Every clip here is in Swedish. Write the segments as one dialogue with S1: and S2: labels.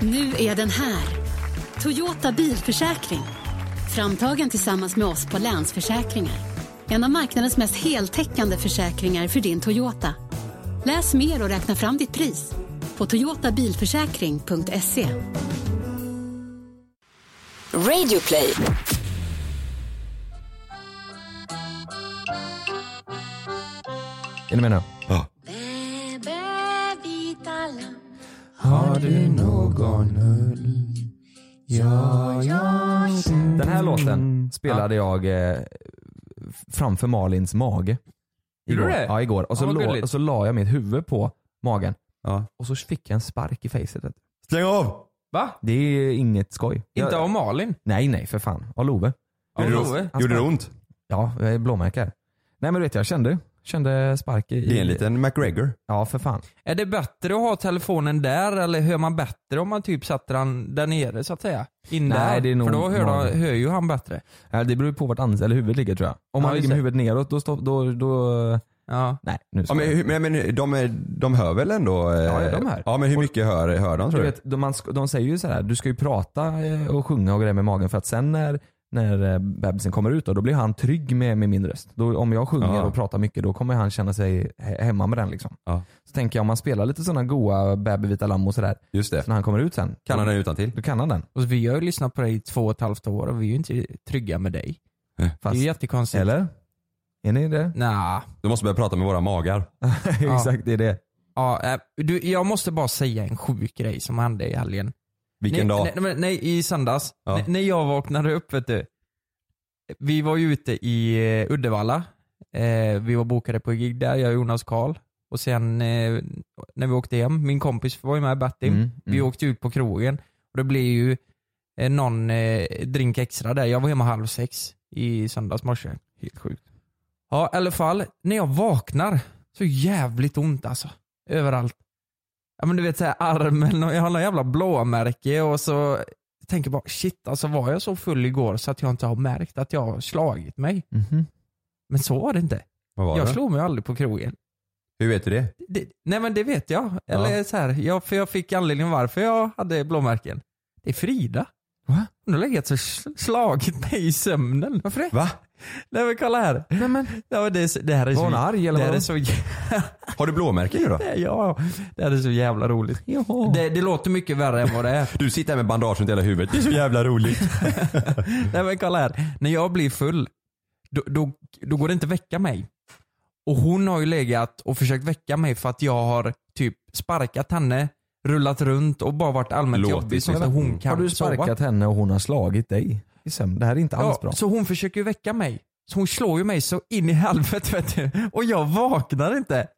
S1: Nu är den här. Toyota bilförsäkring. Framtagen tillsammans med oss på Länsförsäkringar. En av marknadens mest heltäckande försäkringar för din Toyota. Läs mer och räkna fram ditt pris på toyotabilförsäkring.se.
S2: Radio play.
S3: Är ni med nu?
S4: Ja.
S3: Har du någon ull? Ja, ja. Den här låten spelade jag eh, framför Malins mage.
S4: Gjorde
S3: Igår.
S4: du det?
S3: Ja, igår. Och så,
S4: Ja, vad
S3: la,
S4: gulligt.
S3: och så la jag mitt huvud på magen.
S4: Ja.
S3: Och så fick jag en spark i facet.
S4: Släng av!
S5: Va?
S3: Det är inget skoj.
S5: Inte
S3: jag,
S5: av Malin?
S3: Nej, nej för fan. Av Love.
S5: Av
S4: Gjorde
S5: Love?
S4: det, gjorde det ont?
S3: Ja, jag är blåmärke här. Nej men du vet, jag kände, kände spark i...
S4: Det är en liten McGregor.
S3: Ja, för fan.
S5: Är det bättre att ha telefonen där eller hör man bättre om man typ sätter den där nere så att säga? In
S3: Nej,
S5: där?
S3: det är nog
S5: För då hör,
S3: vanligt.
S5: han, hör ju han bättre.
S3: Ja, Det beror ju på vart ans- eller huvudet ligger tror jag. Om
S5: Ja,
S3: man ligger
S5: just
S3: med
S5: det.
S3: huvudet neråt, då, stopp, då, då...
S5: Ja.
S3: Nej, nu
S4: Ja,
S3: ska
S4: men,
S3: jag.
S4: hur- men, men de, är, de hör väl ändå? eh,
S3: Ja, ja, de hör.
S4: Ja, men hur mycket hör, hör de tror
S3: Du
S4: du?
S3: vet, de, man, sk- de säger ju så här: du ska ju prata eh, och sjunga och grejer med magen för att sen när, när eh, bebisen kommer ut då, då blir han trygg med, med min röst. Då, om jag sjunger
S4: Ja.
S3: och pratar mycket då kommer han känna sig he- hemma med den liksom.
S4: Ja.
S3: Så tänker jag om man spelar lite sådana goa Baby Vita Lamm och sådär.
S4: Just det.
S3: Så när han kommer ut sen.
S4: Kan han
S3: då,
S4: den utan till?
S3: då kan han den.
S5: Och vi har ju lyssnat på dig i två och ett halvt år och vi är ju inte trygga med dig.
S3: Eh, Fast,
S5: Det är ju jättekonstigt.
S3: eller? Är ni det?
S5: Nja.
S4: Du måste börja prata med våra magar.
S5: Ja.
S3: Exakt, det är det.
S5: Ja, eh, du, jag måste bara säga en sjuk grej som hände i helgen.
S4: Vilken
S5: nej,
S4: dag?
S5: Nej, men nej, i söndags.
S4: Ja.
S5: N- när jag vaknade upp vet du. Vi var ju ute i eh, Uddevalla. Eh, vi var bokade på gig där, jag och Jonas Karl. Och sen eh, när vi åkte hem, min kompis var ju med Bettim.
S3: Mm,
S5: Vi
S3: mm.
S5: åkte ut på krogen. Och det blev ju eh, någon eh, drink extra där. Jag var hemma halv sex i söndags morse.
S3: Helt sjukt.
S5: Ja, i alla fall. När jag vaknar så jävligt ont alltså. Överallt. Ja men du vet såhär armen och jag har någon jävla blåmärke och så tänker jag bara shit alltså var jag så full igår så att jag inte har märkt att jag har slagit mig?
S3: Mhm.
S5: Men så var det inte.
S4: Vad var
S5: jag
S4: det?
S5: slog mig aldrig på krogen.
S4: Hur vet du det?
S5: Det, nej men det vet jag. Eller så här, jag, för jag fick anledningen varför jag hade blåmärken. Det är Frida. Va? Hon har legat och sl- slagit mig i sömnen. Varför det?
S4: Va?
S5: Nej men kolla här. Nej, men... det, är, så- det här är
S3: Var hon
S5: så...
S3: arg eller
S5: det här
S3: vad?
S5: är så
S4: Har du blåmärken nu då?
S5: Ja, det här är så jävla roligt. Det, det låter mycket värre än vad det är.
S4: Du sitter här med bandage runt hela huvudet. Det är så jävla roligt.
S5: Nej men kolla här. När jag blir full, då, då, då går det inte att väcka mig. Och hon har ju legat och försökt väcka mig för att jag har typ sparkat henne, rullat runt och bara varit allmänt
S4: Låtit
S5: jobbig så att
S4: liksom.
S5: hon kan
S3: Mm. Har du
S5: sova.
S3: sparkat henne och hon har slagit dig i sömn? Det här är inte alls bra.
S5: Ja, så hon försöker ju väcka mig. Så hon slår ju mig så in i helvete vet du. Och jag vaknar inte.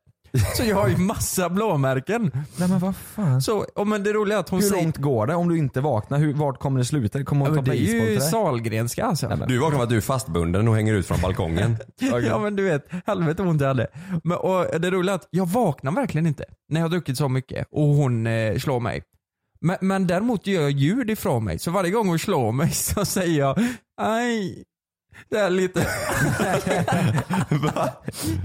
S5: Så jag har ju massa blåmärken.
S3: Nej men vad fan.
S5: Så, och men det roliga är att hon
S3: Mm. Hur
S5: säger...
S3: långt går det om du inte vaknar? Hur, vart kommer det sluta? Kommer
S5: Ja,
S3: hon
S5: men
S3: ta
S5: det
S3: baseboll
S5: är ju
S3: till dig?
S5: Sahlgrenska alltså.
S4: Du vaknar med att du är fastbunden och hänger ut från balkongen.
S5: Ja men du vet, helvete vad ont jag hade. Men, och det roliga är att jag vaknar verkligen inte när jag har druckit så mycket och hon eh, slår mig. Men, men däremot gör jag ljud ifrån mig, så varje gång hon slår mig så säger jag aj. Det är lite...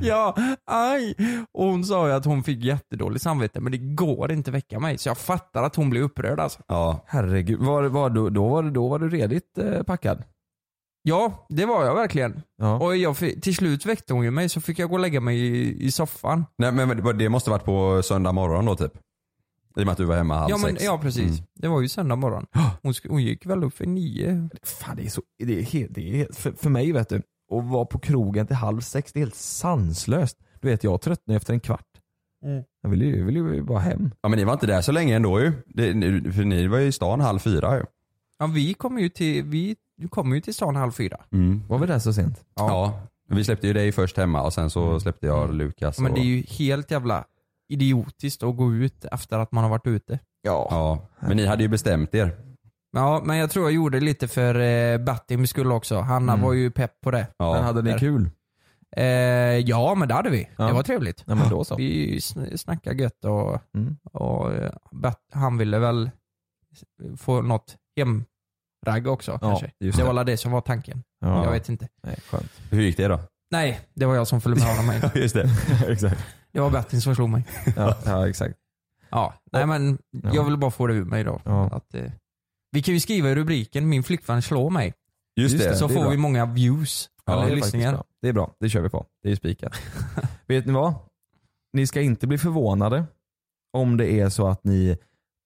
S5: ja, aj. Och hon sa ju att hon fick jättedåligt samvete men det går inte väcka mig så jag fattar att hon blir upprörd alltså.
S4: Ja.
S3: Herregud, var, var du, då, var, du- då var du redigt eh, packad.
S5: Ja, det var jag verkligen.
S3: Ja.
S5: Och jag, fick- till slut väckte hon ju mig så fick jag gå och lägga mig i, i soffan.
S4: Nej, men det måste varit på söndag morgon då typ? I och med att du var hemma halv
S5: Ja, men,
S4: sex.
S5: ja precis.
S3: Mm.
S5: Det var ju söndag morgon. Hon, sk- hon gick väl upp för nio.
S3: Fan det är så, det är helt, det är helt, för, för mig vet du, att vara på krogen till halv sex, det är helt sanslöst. Du vet jag tröttnade efter en kvart.
S5: Mm.
S3: Jag ville ju, ville ju bara hem.
S4: Ja men ni var inte där så länge ändå ju. Det, ni- för ni var ju i stan halv fyra ju.
S5: Ja, vi kom ju till, vi kom ju till stan halv fyra.
S4: Mm.
S3: Var vi där så sent?
S4: Ja. Vi släppte ju dig först hemma och sen så släppte jag Lukas.
S5: Men
S4: och,
S5: det är ju helt jävla idiotiskt att gå ut efter att man har varit ute.
S4: Ja. Men ni hade ju bestämt er.
S5: Ja, men jag tror jag gjorde lite för eh, Battims skull också. Hanna
S3: Mm.
S5: var ju pepp på det.
S4: Ja.
S3: Men hade ni kul?
S5: Eh, ja, men det hade vi.
S3: Ja.
S5: Det var trevligt.
S3: Ja men då så.
S5: Vi sn- snackade gött och,
S3: Mm.
S5: och eh, Bat- han ville väl få något hemragg också kanske.
S3: just
S5: Det
S3: det.
S5: var väl det som var tanken.
S3: Ja.
S5: Jag vet inte.
S3: Nej, skönt.
S4: Hur gick det då?
S5: Nej, det var jag som följde med honom. Mig.
S4: Just det.
S3: exakt.
S5: Det var Bertin som slog mig.
S3: Ja, ja exakt.
S5: Ja, nej men
S3: Ja.
S5: jag vill bara få det ur mig då.
S3: Ja.
S5: Att, eh, vi kan ju skriva i rubriken 'Min flickvän slår mig'
S4: Just,
S3: Just
S4: det.
S3: det.
S5: så får
S3: bra.
S5: vi många views.
S3: Ja,
S5: eller
S3: det är faktiskt
S5: lyssningar.
S3: bra. Det är bra, det kör vi på. Det är ju spikat. Vet ni vad? Ni ska inte bli förvånade om det är så att ni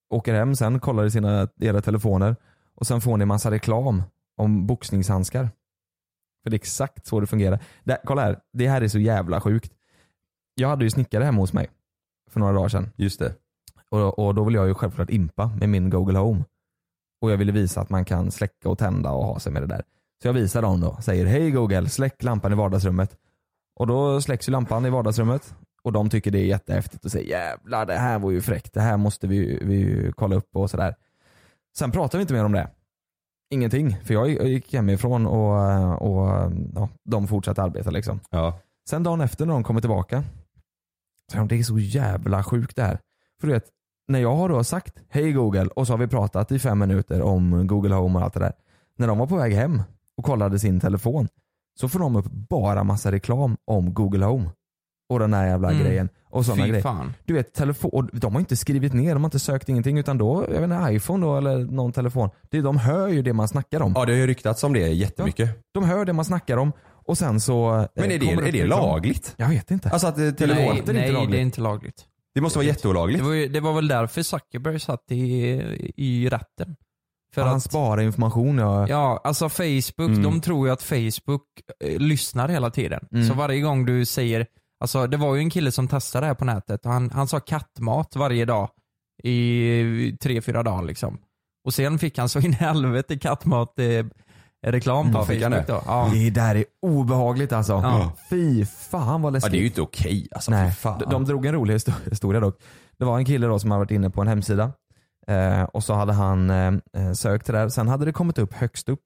S3: åker hem sen, kollar i sina, era telefoner och sen får ni massa reklam om boxningshandskar. För det är exakt så det fungerar. Där, kolla här, det här är så jävla sjukt. Jag hade ju snickare hemma hos mig för några dagar sedan.
S4: Just det.
S3: Och, och då vill jag ju självklart impa med min Google Home. Och jag ville visa att man kan släcka och tända och ha sig med det där. Så jag visar dem då. Säger hej Google, släck lampan i vardagsrummet. Och då släcks ju lampan i vardagsrummet. Och de tycker det är jättehäftigt och säger jävlar det här var ju fräckt. Det här måste vi, ju- vi ju kolla upp och sådär. Sen pratar vi inte mer om det. Ingenting. För jag gick hemifrån och, och ja, de fortsatte arbeta liksom.
S4: Ja.
S3: Sen dagen efter när de kommer tillbaka, så är de, det är så jävla sjukt det här. För du vet, när jag har då sagt hej Google och så har vi pratat i fem minuter om Google Home och allt det där. När de var på väg hem och kollade sin telefon så får de upp bara massa reklam om Google Home. Och den här jävla
S5: Mm.
S3: grejen. Och sådana
S5: Fy
S3: grejer.
S5: fan.
S3: Du vet telefon, och de har inte skrivit ner, de har inte sökt ingenting utan då, jag vet inte, iPhone då eller någon telefon. Det, de hör ju det man snackar om.
S4: ja, det har ju ryktats om det jättemycket.
S3: De hör det man snackar om och sen så... eh,
S4: Men är det,
S3: kommer upp
S4: är det
S3: reklam.
S4: lagligt?
S3: Jag vet inte.
S4: liksom- Alltså att eh, telefon...
S5: nej,
S3: det är inte
S5: nej det
S3: lagligt.
S5: är inte lagligt.
S4: Det måste vara
S5: Det
S4: jätteolagligt.
S5: var, ju, det var väl därför Zuckerberg satt i, i rätten. För
S3: han
S5: att,
S3: sparar information. Ja.
S5: ja, alltså Facebook,
S3: Mm.
S5: de tror ju att Facebook eh, lyssnar hela tiden.
S3: Mm.
S5: Så varje gång du säger, alltså det var ju en kille som testade det här på nätet och han, han sa kattmat varje dag i tre, fyra dagar liksom. Och sen fick han så in i helvete kattmat eh, reklam på
S4: Ja, fick han
S5: Facebook då. Ja.
S3: Det där är obehagligt alltså.
S5: Ja.
S3: Fy fan vad
S4: Ja,
S3: läskigt.
S4: det är ju inte okej alltså.
S3: Nej.
S4: Fy Fan.
S3: De, de drog en rolig histo- historia dock. Det var en kille då som hade varit inne på en hemsida eh, och så hade han eh, sökt det där. Sen hade det kommit upp högst upp,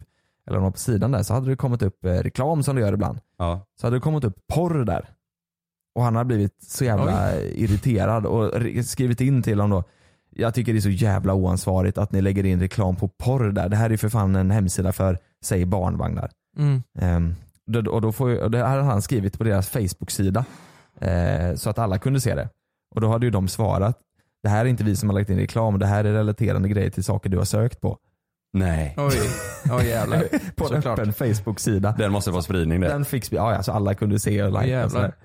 S3: eller om det var på sidan där, så hade det kommit upp eh, reklam som det gör ibland.
S4: Ja.
S3: Så hade det kommit upp porr där. Och han hade blivit så jävla irriterad och re- skrivit in till honom då. Jag tycker det är så jävla oansvarigt att ni lägger in reklam på porr där. Det här är ju för fan en hemsida för, säg barnvagnar.
S5: Mm.
S3: Ehm, då, och, då får, ju- och det hade han skrivit på deras Facebook-sida eh, så att alla kunde se det. Och då hade ju de svarat, det här är inte vi som har lagt in reklam, det här är relaterande grejer till saker du har sökt på.
S4: Nej.
S5: Oj, oj jävlar.
S3: På en
S5: Såklart.
S3: öppen Facebook-sida.
S4: Den måste få spridning där.
S3: Den fick, sp- ja, ja, så alla kunde se och like
S5: jävlar.
S3: och sådär.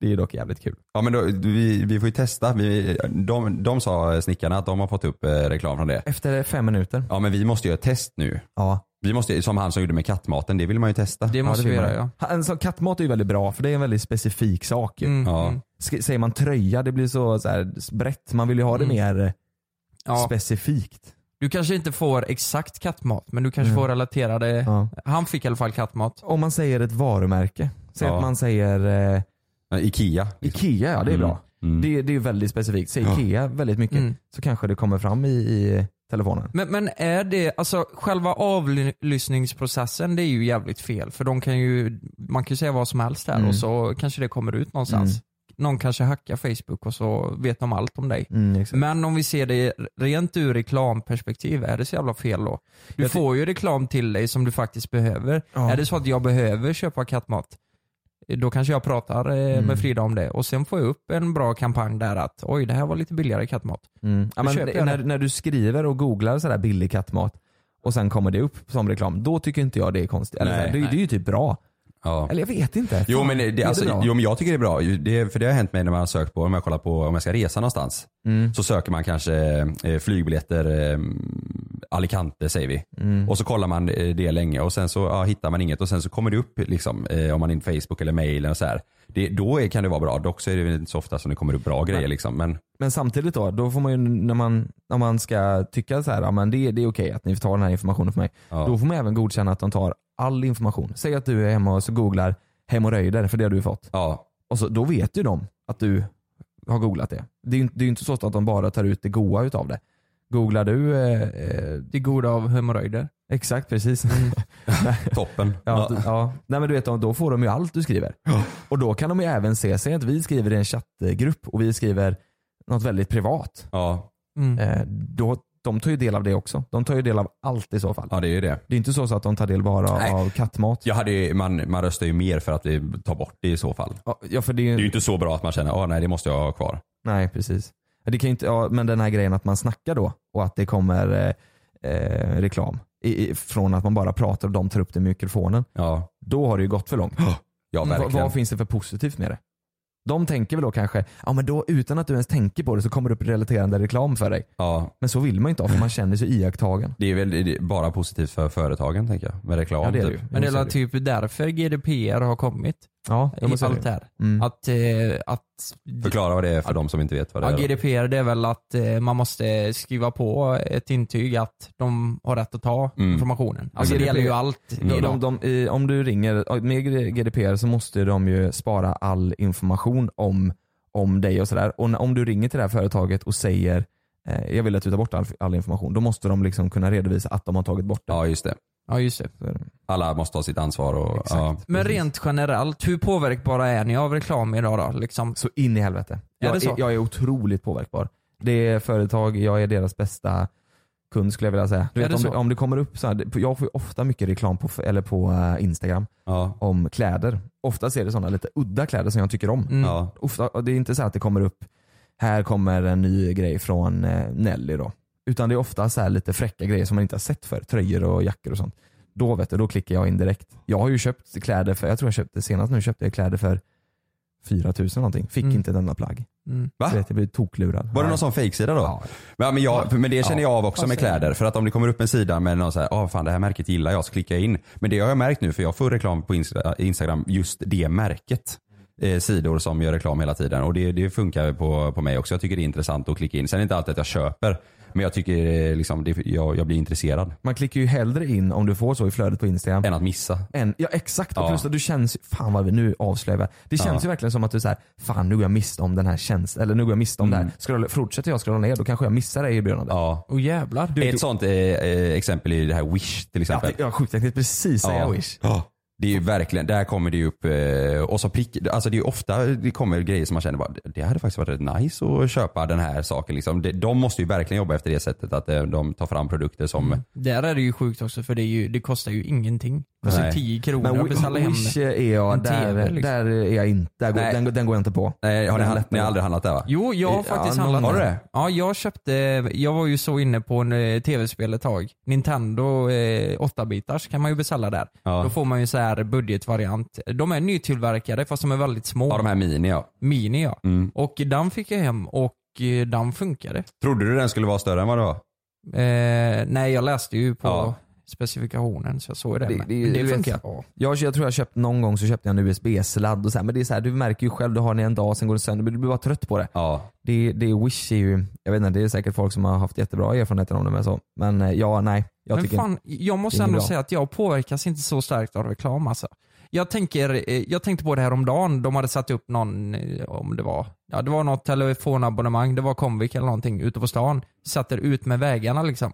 S3: Det är ju dock jävligt kul.
S4: Ja men då, vi, vi får ju testa. Vi, de, de sa eh, snickarna att de har fått upp eh, reklam från det.
S3: Efter fem minuter.
S4: Ja men vi måste göra ett test nu.
S3: Ja.
S4: Vi måste, som han som gjorde med kattmaten, det vill man ju testa.
S5: Det måste
S3: det
S5: vi
S3: vill
S5: göra
S3: man.
S5: ja.
S3: Ha- En sån kattmat är ju väldigt bra för det är en väldigt specifik sak ju.
S5: Mm,
S4: Ja.
S5: mm.
S3: Sk- Säger man tröja, det blir så, så här, brett. Man vill ju ha det
S5: Mm.
S3: mer eh,
S5: Ja.
S3: specifikt.
S5: Du kanske inte får exakt kattmat, men du kanske
S3: Mm.
S5: får relaterade.
S3: Ja.
S5: Han fick i alla fall kattmat.
S3: Om man säger ett varumärke. Säg
S4: Ja.
S3: att man säger eh,
S4: Ja, Ikea.
S3: Ikea, ja det är
S4: Mm.
S3: bra.
S4: Mm.
S3: Det, det är ju väldigt specifikt. Säg
S4: Ja.
S3: Ikea väldigt mycket
S5: Mm.
S3: så kanske det kommer fram i, i telefonen.
S5: Men, men är det, alltså själva avlyssningsprocessen det är ju jävligt fel. För de kan ju, man kan ju säga vad som helst här
S3: Mm.
S5: och så kanske det kommer ut någonstans.
S3: Mm.
S5: Någon kanske hackar Facebook och så vet de allt om dig.
S3: Mm, exakt.
S5: Men om vi ser det rent ur reklamperspektiv, är det så jävla fel då? Du
S3: Jag ty-
S5: får ju reklam till dig som du faktiskt behöver.
S3: Ja.
S5: Är det så att jag behöver köpa kattmat, då kanske jag pratar eh,
S3: Mm.
S5: med Frida om det och sen får jag upp en bra kampanj där att oj det här var lite billigare kattmat.
S3: Mm. Ja,
S5: Då
S3: men
S5: köper
S3: det-
S5: jag
S3: när,
S5: det.
S3: när du skriver och googlar sådär billig kattmat och sen kommer det upp som reklam, då tycker inte jag det är konstigt. Eller,
S4: Nej,
S3: såhär, det, det är ju typ bra.
S4: Ja.
S3: Eller jag vet inte.
S4: Jo
S3: Fan,
S4: men,
S3: är
S4: det, alltså,
S3: bra?
S4: jo men jag tycker det är bra. Ju- Det, för det har hänt mig när man har sökt på, om jag kollar på om jag ska resa någonstans.
S3: Mm.
S4: Så söker man kanske eh, flygbiljetter eh, Alicante säger vi.
S3: Mm.
S4: Och så kollar man eh, det länge och sen så ja, hittar man inget och sen så kommer det upp liksom, eh, om man är in på Facebook eller mailen och så här. Det, då är, kan det vara bra. Dock så är det väl inte så ofta som det kommer upp bra grejer liksom. Men
S3: Men samtidigt då, då får man ju när man, när man ska tycka så här, ja, men det, det är okej att ni tar den här informationen för mig.
S4: ja.
S3: Då får man även godkänna att de tar all information. Säg att du är hemma och så googlar hemorrojder för det har du fått.
S4: ja.
S3: Och så, då vet ju de att du har googlat det. Det är ju inte, det är ju inte så att de bara tar ut det goa utav det. Googlar du, eh, eh,
S5: Det goda av hemorrojder.
S3: exakt precis.
S4: Toppen.
S3: Ja, d- ja. Nej men du vet, då får de ju allt du skriver. Och då kan de ju även se, säg att vi skriver i en chattgrupp och vi skriver något väldigt privat.
S4: Ja.
S5: Mm.
S3: Eh, då, de tar ju del av det också. De tar ju del av allt i så fall.
S4: ja, det är ju det.
S3: Det är inte så, så att de tar del bara
S4: Nej.
S3: av kattmat.
S4: Jag hade, ju- man, man röstar ju mer för att vi tar bort det i så fall.
S3: Ja, för det
S4: Det är ju inte så bra att man känner, åh nej det måste jag ha kvar.
S3: Nej precis. Men, det kan ju inte, ja, men den här grejen att man snackar då och att det kommer eh, eh, reklam i, i, från att man bara pratar och de tar upp det i mikrofonen.
S4: Ja,
S3: Då har det ju gått för långt.
S4: ja
S3: Va-
S4: verkligen.
S3: vad finns det för positivt med det? De tänker väl då kanske, ja men då utan att du ens tänker på det så kommer det upp relaterande reklam för dig.
S4: ja,
S3: Men så vill man ju inte ha för man känner sig iakttagen.
S4: det är väl det är bara positivt för företagen tänker jag. Med reklam
S3: Ja, det är det
S4: typ.
S3: ju.
S5: Men det är
S3: Jo, så
S5: väl typ därför GDPR har kommit.
S3: Ja,
S5: I
S3: jo, men så är det
S5: allt
S3: ju.
S5: det här.
S3: Mm.
S5: Att, eh, att
S4: Förklara vad det är för de som inte vet vad det
S5: ja,
S4: är.
S5: GDPR det är väl att eh, man måste skriva på ett intyg att de har rätt att ta
S4: Mm.
S5: informationen. Alltså
S3: GDPR
S5: det gäller ju allt.
S3: Mm. De,
S5: idag.
S3: de, de, i, om du ringer, med GDPR så måste de ju spara all information om, om dig och sådär. Och när- om du ringer till det här företaget och säger eh, jag vill att du tar bort all, all information, då måste de liksom kunna redovisa att de har tagit bort det.
S4: Ja just det.
S5: Ja just det.
S3: Så är det.
S4: Alla måste ha sitt ansvar och
S3: Exakt.
S4: ja.
S5: Men
S3: Precis.
S5: rent generellt, hur påverkbara är ni av reklam idag då? Liksom,
S3: Så in i helvete.
S5: Är det
S3: Jag
S5: så?
S3: är, jag är otroligt påverkbar. Det är företag, jag är deras bästa kund skulle jag vilja säga. Du
S5: Är
S3: vet,
S5: det
S3: om,
S5: så?
S3: om det kommer upp så här, det- jag får ju ofta mycket reklam på, eller på eh, Instagram
S4: Ja.
S3: om kläder. Ofta är det sådana lite udda kläder som jag tycker om.
S5: Mm.
S4: Ja.
S3: ofta, och det är inte så här att det kommer upp, här kommer en ny grej från eh, Nelly då. Utan det är ofta så här lite fräcka grejer som man inte har sett för tröjor och jackor och sånt. Då vet du, då klickar jag in direkt. Jag har ju köpt kläder för, jag tror jag köpte senast nu köpte jag kläder för 4000 någonting. Fick
S5: Mm.
S3: inte denna plagg.
S5: Mm.
S4: Va?
S3: Så vet, jag blev toklurad.
S4: Ah. Var det
S3: Ja.
S4: någon sån fejksida då?
S3: Ja.
S4: Ja, men, jag, men det känner jag av också
S5: Vad
S4: med
S5: säger
S4: kläder. För att om det kommer upp en sida med någon så här, ah, fan det här märket gillar jag, så klickar jag in. Men det har jag märkt nu, för jag får reklam på Insta- Instagram, just det märket. Eh, sidor som gör reklam hela tiden och det, det funkar på, på mig också. Jag tycker det är intressant att klicka in. Sen är det inte alltid att jag köper, men jag tycker eh, liksom, det, jag, jag blir intresserad.
S3: Man klickar ju hellre in om du får så i flödet på Instagram.
S4: Än att missa.
S3: En, ja exakt, och
S4: Ja.
S3: plus att du känns, fan vad vi nu avslöjar vi. Det känns ju verkligen som att du säger fan nu går jag miste om den här tjänsten, eller nu går jag miste om
S4: Mm.
S3: det här. Scrolla, fortsätter jag scrolla ner då kanske jag missar det erbjudandet.
S4: Ja.
S5: Oh, jävlar.
S4: Ett sånt eh, eh, exempel är det här Wish till
S3: Ja,
S4: exempel.
S3: det- ja sjukt, jag tänkte precis säga Wish.
S4: Ja. Det är ju verkligen, där kommer det ju upp eh, och så prick, alltså det är ju ofta det kommer grejer som man känner bara, det hade faktiskt varit rätt nice att köpa den här saken liksom. De, de måste ju verkligen jobba efter det sättet att eh, de tar fram produkter som,
S3: Mm.
S5: Där är det ju sjukt också för det, är ju, det kostar ju ingenting.
S4: Nej.
S5: Alltså 10 kronor
S3: Men
S5: att beställa hem.
S3: Wi- Wish är jag,
S5: en
S3: där,
S5: TV, liksom.
S3: där är jag inte, där går,
S4: Nej.
S3: den, går- den går jag inte på.
S4: nej har ni,
S3: Den
S4: hand,
S3: läppen.
S4: ni har aldrig handlat där va?
S5: Jo, jag har
S3: Ja,
S5: faktiskt
S3: någon-
S5: handlat
S4: Har du
S5: den.
S4: det?
S5: Ja, jag köpte, jag var ju så inne på en eh, tv-spel ett tag. Nintendo eh, 8-bitars kan man ju beställa där.
S4: Ja.
S5: Då får man ju så här budgetvariant. De är nytillverkade fast de är väldigt små.
S4: Ja de här mini ja.
S5: Mini ja.
S4: Mm.
S5: Och den fick jag hem och eh, den funkade.
S4: Trodde du den skulle vara större än vad det var?
S5: Eh, nej, jag läste ju på
S4: Ja.
S5: specifikationen så jag såg det.
S3: Det-
S5: Det,
S3: det-
S5: det,
S3: du vet-
S5: funkar. Ja.
S3: Jag, jag tror jag köpt någon gång så köpte jag en USB-sladd och så här, men det är så här, du märker ju själv, du har den i en dag sen går det sönder, men du blir bara trött på det.
S4: Ja.
S3: Det, det Wish är ju, jag vet inte, det är säkert folk som har haft jättebra erfarenheter om det men så. Men eh, ja, nej. Jag
S5: men
S3: tycker
S5: fan, jag
S3: det
S5: måste
S3: är
S5: ändå
S3: bra.
S5: säga att jag påverkas inte så starkt av reklam alltså. Jag, tänker, eh, jag tänkte på det här om dagen. de hade satt upp någon, eh, om det var, ja det var något telefonabonnemang, det var Comviq eller någonting ute på stan. Satt det ut med vägarna liksom.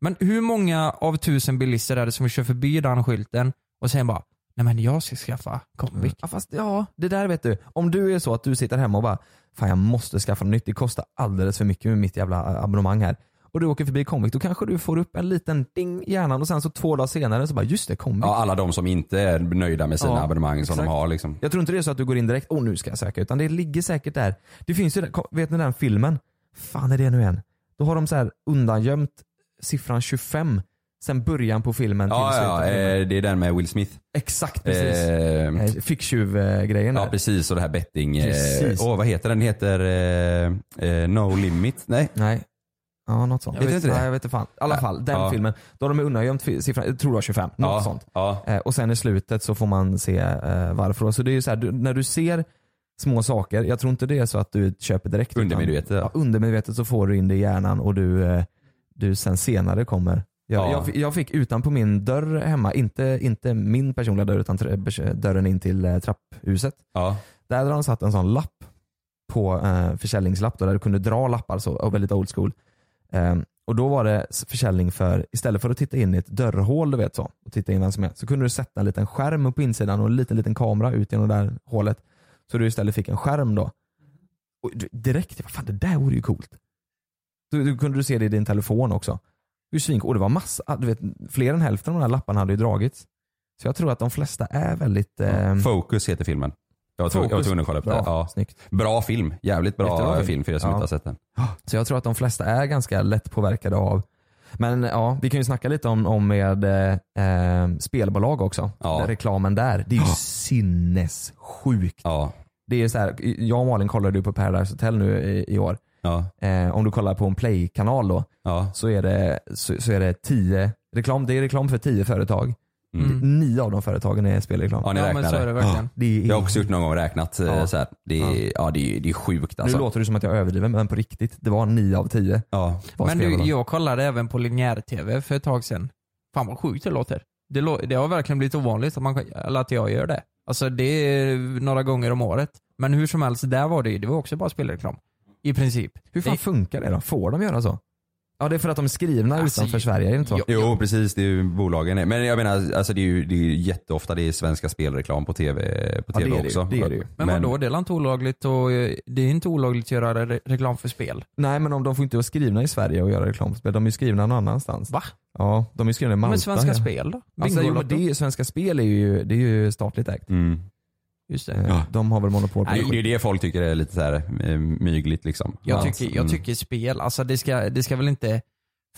S5: Men hur många av tusen bilister är det som kör förbi den skylten och sen bara, nej men jag ska skaffa Comviq.
S3: Ja, fast ja, det där vet du. Om du är så att du sitter hemma och bara Fan jag måste skaffa något nytt, det kostar alldeles för mycket med mitt jävla eh, abonnemang här. Och du åker förbi Comviq, då kanske du får upp en liten ding i hjärnan och sen så två dagar senare så bara just det, Comviq.
S4: ja. Alla de som inte är nöjda med sina
S3: Ja,
S4: abonnemang som
S3: exakt.
S4: de har liksom.
S3: Jag tror inte det är så att du går in direkt, åh nu ska jag söka, utan det ligger säkert där. Det finns ju, den- kom- vet ni den filmen? Fan är det nu igen? Då har de så här undangömt siffran 25 sen början på filmen
S4: Ja,
S3: till
S4: ja
S3: slutet. av filmen.
S4: eh, det är den med Will Smith.
S3: Exakt precis.
S4: Eh,
S3: Eh, Ficktjuv-grejen
S4: Ja
S3: där.
S4: precis och det här betting.
S3: Precis.
S4: eh, Åh vad heter den? Den heter eh, eh, No Limit. Nej.
S3: Nej. Ja, något sånt.
S4: Jag vet inte det.
S3: Nej, jag vet inte fan. I alla
S4: Ja.
S3: fall, den
S4: Ja.
S3: filmen. Då har de undangömt fi- siffran, jag tror det var 25, något
S4: ja,
S3: sånt.
S4: Ja.
S3: Eh, och sen i slutet så får man se eh, varför. Så det är ju så här, du, när du ser små saker, jag tror inte det är så att du köper direkt. utan-
S4: Undermedvetet, ja.
S3: Ja, undermedvetet så får du in det i hjärnan och du, eh, du sen senare kommer. Jag,
S4: Ja.
S3: jag, fi- jag fick utanpå min dörr hemma, inte, inte min personliga dörr utan tr- bers- dörren in till eh, trapphuset.
S4: Ja.
S3: Där hade de satt en sån lapp på eh, försäljningslapp då, där du kunde dra lappar så, och väldigt old school. Ehm, och då var det s- försäljning för, istället för att titta in i ett dörrhål du vet så, och titta in vem som är, så kunde du sätta en liten skärm på insidan och en liten, liten kamera ut genom det där hålet. Så du istället fick en skärm då. Och du- direkt, vad fan det där vore ju coolt. Du, du kunde du se det i din telefon också. Det är svin- Och det var massa, du vet, fler än hälften av de här lapparna hade ju dragits. Så jag tror att de flesta är väldigt... ehm,
S4: Focus heter filmen. Jag var, tvungen, jag var
S3: Fokus.
S4: tvungen att kolla upp
S3: Bra,
S4: det. Ja.
S3: snyggt.
S4: Bra film. Jävligt bra
S3: Jättebra film.
S4: film för er som
S3: Ja.
S4: inte har sett den.
S3: Så jag tror att de flesta är ganska lätt påverkade av men ja, vi kan ju snacka lite om, om med eh, eh, spelbolag också.
S4: Ja.
S3: Den Reklamen där. Det är ju sinnessjukt.
S4: Ja.
S3: Det är så här, jag och Malin kollade ju på Paradise Hotel nu i, i år.
S4: Ja.
S3: Eh, om du kollar på en play-kanal då
S4: Ja.
S3: så är det, så, så är det tio reklam, det är reklam för tio företag.
S4: Mm.
S3: Nio av de företagen är spelreklam.
S4: ja, ni
S5: Ja,
S4: räknade.
S5: men så är det verkligen.
S3: Det är,
S4: Jag har också gjort någon gång och räknat. eh,
S3: Ja.
S4: Så här. Det, är, ja. det, är, det är sjukt alltså.
S3: Nu låter det som att jag överdriver men på riktigt, det var nio av tio.
S4: ja.
S3: var
S5: Men du,
S3: spelbolag.
S5: jag kollade även på linjär-tv för ett tag sedan. Fan vad sjukt det låter. Det, lå- det har verkligen blivit ovanligt att, man, eller att jag gör det. Alltså det är några gånger om året. Men hur som helst, där var det ju, det var också bara spelreklam. I princip.
S3: Hur fan
S5: Det-
S3: funkar det då? Får de göra så? Ja det är för att de är skrivna
S5: Alltså,
S3: utanför Sverige, är det inte så?
S5: ja.
S4: Jo precis, det är ju bolagen. är. Men jag menar, alltså, det, är ju, det är ju jätteofta det är svenska spelreklam på tv, på
S3: Ja,
S4: TV
S3: det är det ju.
S4: också.
S3: Det är det ju.
S5: Men, vadå, det är väl inte olagligt och eh, det är inte olagligt att göra re- reklam för spel?
S3: Nej men om de får inte vara skrivna i Sverige och göra reklam för spel, de är ju skrivna någon annanstans.
S5: Va?
S3: Ja, de är skrivna i Malta.
S5: men Svenska
S3: ja.
S5: Spel då?
S3: Alltså, jo, men
S5: Bingolotto?
S3: det är, ju- svenska Spel är ju, det är ju statligt ägt.
S4: Mm.
S5: Just det.
S3: Eh,
S4: Ja.
S3: De har väl monopol på
S4: Det,
S3: det.
S4: är- det är det folk tycker är lite så här eh, mygligt liksom.
S5: Jag,
S4: Ja.
S5: tycker,
S4: Mm.
S5: jag tycker spel, alltså det ska, det ska väl inte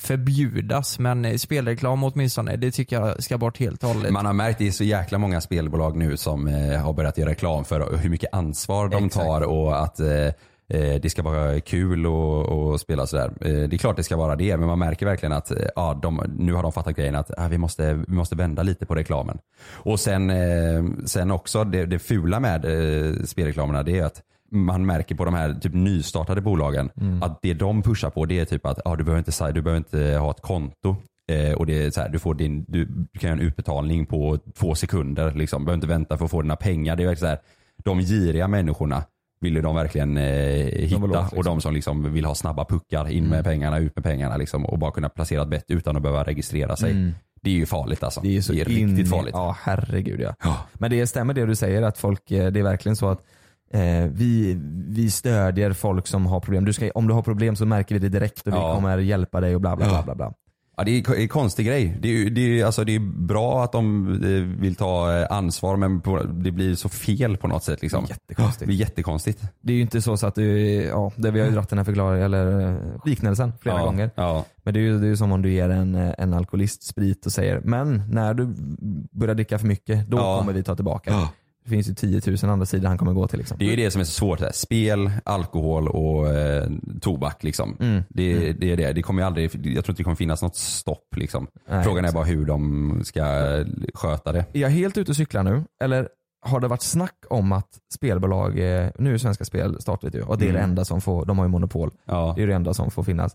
S5: förbjudas men eh, spelreklam åtminstone, det tycker jag ska bort helt och hållet.
S4: Man har märkt det är så jäkla många spelbolag nu som eh, har börjat göra reklam för hur mycket ansvar de
S3: Exakt.
S4: tar och att eh, eh, det ska vara kul och, och spela sådär. Eh, det är klart det ska vara det men man märker verkligen att eh, ja, de, nu har de fattat grejen att ah, vi, måste, vi måste vända lite på reklamen. Och sen, eh, sen också det, det fula med eh, spelreklamerna det är att man märker på de här typ nystartade bolagen att det de pushar på det är typ att ah, du, behöver inte, sa- du behöver inte ha ett konto. Eh, och det är så här, du, får din, du, du kan göra en utbetalning på två sekunder. Liksom. Du behöver inte vänta för att få dina pengar. Det är verkligen så här, de giriga människorna vill ju de verkligen eh, hitta.
S3: vill åt, liksom. Mm.
S4: Och de som liksom vill ha snabba puckar, in med pengarna, ut med pengarna liksom, och bara kunna placera ett bett utan att behöva registrera sig. Det är ju farligt alltså.
S3: Mm. Det är, så in i-
S4: riktigt farligt.
S3: Ja, herregud ja. Men det stämmer det du säger att folk, eh, det är verkligen så att eh, vi, vi stödjer folk som har problem. Du ska, om du har problem så märker vi det direkt och vi
S4: Ja.
S3: kommer hjälpa dig och bla bla bla.
S4: Ja.
S3: bla, bla.
S4: Ja, det är en konstig grej. Det är, ju- det, är, alltså, det är bra att de eh, vill ta eh, ansvar men på, det blir så fel på något sätt. Liksom.
S3: Jättekonstigt.
S4: Det blir jättekonstigt.
S3: Det är ju inte så, så att du, ja, det vi har ju dragit den här förklaringen, eller eh, liknelsen flera
S4: ja,
S3: gånger.
S4: Ja.
S3: Men det är ju det är ju som om du ger en, eh, en alkoholist sprit och säger men när du börjar dricka för mycket då
S4: Ja.
S3: kommer vi ta tillbaka.
S4: Ja.
S3: Det finns ju 10 000 andra sidor han kommer gå till. Liksom.
S4: Det är ju det som är så svårt. så Här. Spel, alkohol och eh, tobak. Liksom. Det, det är det. det kommer ju aldrig, jag tror inte det kommer finnas något stopp. Liksom.
S3: Nej,
S4: Frågan är bara hur de ska sköta det.
S3: Är jag helt ute och cyklar nu? Eller har det varit snack om att spelbolag, eh, nu är Svenska Spel statligt ju och det är det
S4: Mm.
S3: enda som får, de har ju monopol,
S4: Ja.
S3: det är det enda som får finnas.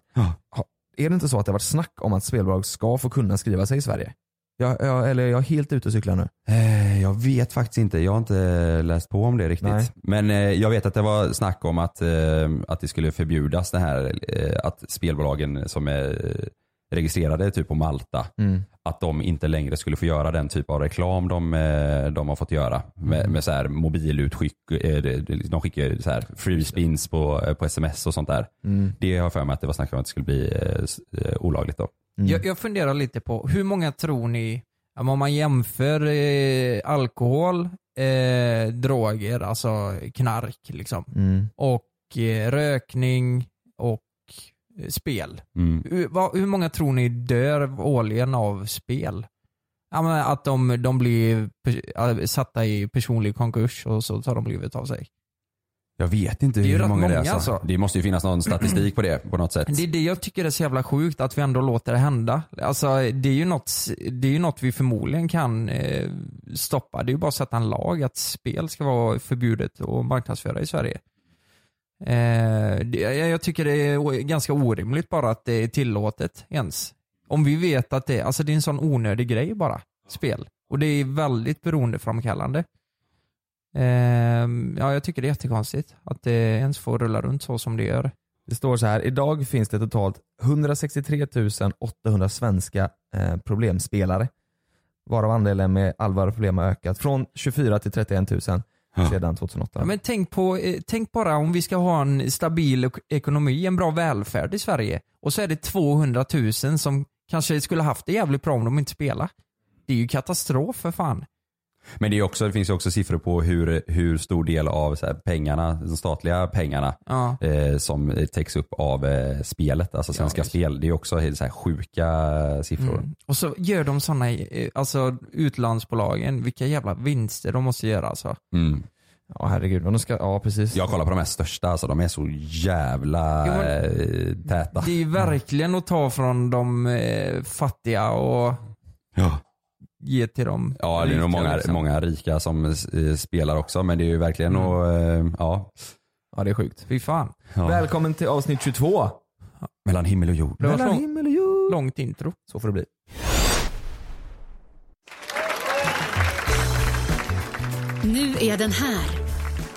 S3: Ha- Är det inte så att det har varit snack om att spelbolag ska få kunna skriva sig i Sverige? Jag, jag, eller är jag helt ute och cyklar
S5: Mm.
S3: nu?
S4: Eh, Jag vet faktiskt inte. Jag har inte läst på om det riktigt.
S3: Nej.
S4: Men eh, jag vet att det var snack om att, eh, att det skulle förbjudas det här eh, att spelbolagen som är eh, registrerade typ på Malta
S3: Mm.
S4: att de inte längre skulle få göra den typ av reklam de, eh, de har fått göra
S5: Mm.
S4: med, med så här mobilutskick. eh, det- det- De skickar ju så här free spins på, eh, på sms och sånt där.
S3: Mm.
S4: Det har jag för mig att det var snack om att det skulle bli eh, s- eh, olagligt då.
S3: Mm.
S5: Jag, jag funderar lite på, hur många tror ni, ja, men om man jämför eh, alkohol, eh, droger, alltså knark liksom,
S3: Mm.
S5: och eh, rökning och eh, spel.
S4: Mm.
S5: Hur, vad, hur många tror ni dör årligen av spel? Ja, men att de, de blir pers- ja, satta i personlig konkurs och så tar de livet av sig.
S4: Jag vet inte
S5: Det är ju
S4: hur
S5: rätt
S4: många det är.
S5: många,
S4: Alltså.
S5: alltså.
S4: Det måste ju finnas någon statistik på det på något sätt.
S5: Det är det jag tycker är så jävla sjukt, att vi ändå låter det hända. Alltså, det är ju något, det är ju något vi förmodligen kan eh, stoppa. Det är ju bara att sätta en lag att spel ska vara förbjudet att marknadsföra i Sverige. Eh, det, jag jag tycker det är o- ganska orimligt bara att det är tillåtet ens. Om vi vet att det, alltså det är en sån onödig grej bara, spel. Och det är väldigt beroendeframkallande. Eh, ja, jag tycker det är jättekonstigt att det ens får rulla runt så som det gör.
S3: Det står så här, idag finns det totalt 163 800 svenska eh, problemspelare. Varav andelen med allvarliga problem har ökat från 24 till 31 000 sedan 2008.
S5: Ja, men tänk, på, eh, tänk bara om vi ska ha en stabil ek- ekonomi, en bra välfärd i Sverige och så är det 200 000 som kanske skulle haft det jävligt bra om de inte spelar. Det är ju katastrof för fan.
S4: Men det, är också, det finns ju också siffror på hur, hur stor del av så här, pengarna, de statliga pengarna
S5: Ja.
S4: eh, som täcks upp av eh, spelet, alltså Svenska
S5: visst.
S4: Spel. Det är ju också helt så här, sjuka siffror.
S5: Mm. Och så gör de sådana, alltså utlandsbolagen, vilka jävla vinster de måste göra alltså.
S4: Mm.
S3: Ja herregud. Och de ska, ja precis.
S4: Jag kollar på de här största, alltså, de är så jävla
S5: Jo, men-
S4: eh, täta.
S5: Det är ju verkligen att ta från de eh, fattiga och
S4: Ja.
S5: ge till de liksom.
S4: Ja, det är nog många,
S3: liksom.
S4: många rika som eh, spelar också, men det är ju verkligen
S5: Mm.
S4: och, eh, ja,
S3: Ja det är sjukt.
S5: Fy fan.
S4: ja.
S3: Välkommen till avsnitt 22.
S4: mellan himmel och jord.
S5: Det var så lång,
S3: himmel och jord.
S5: långt intro.
S3: Så får det bli.
S1: Nu är den här.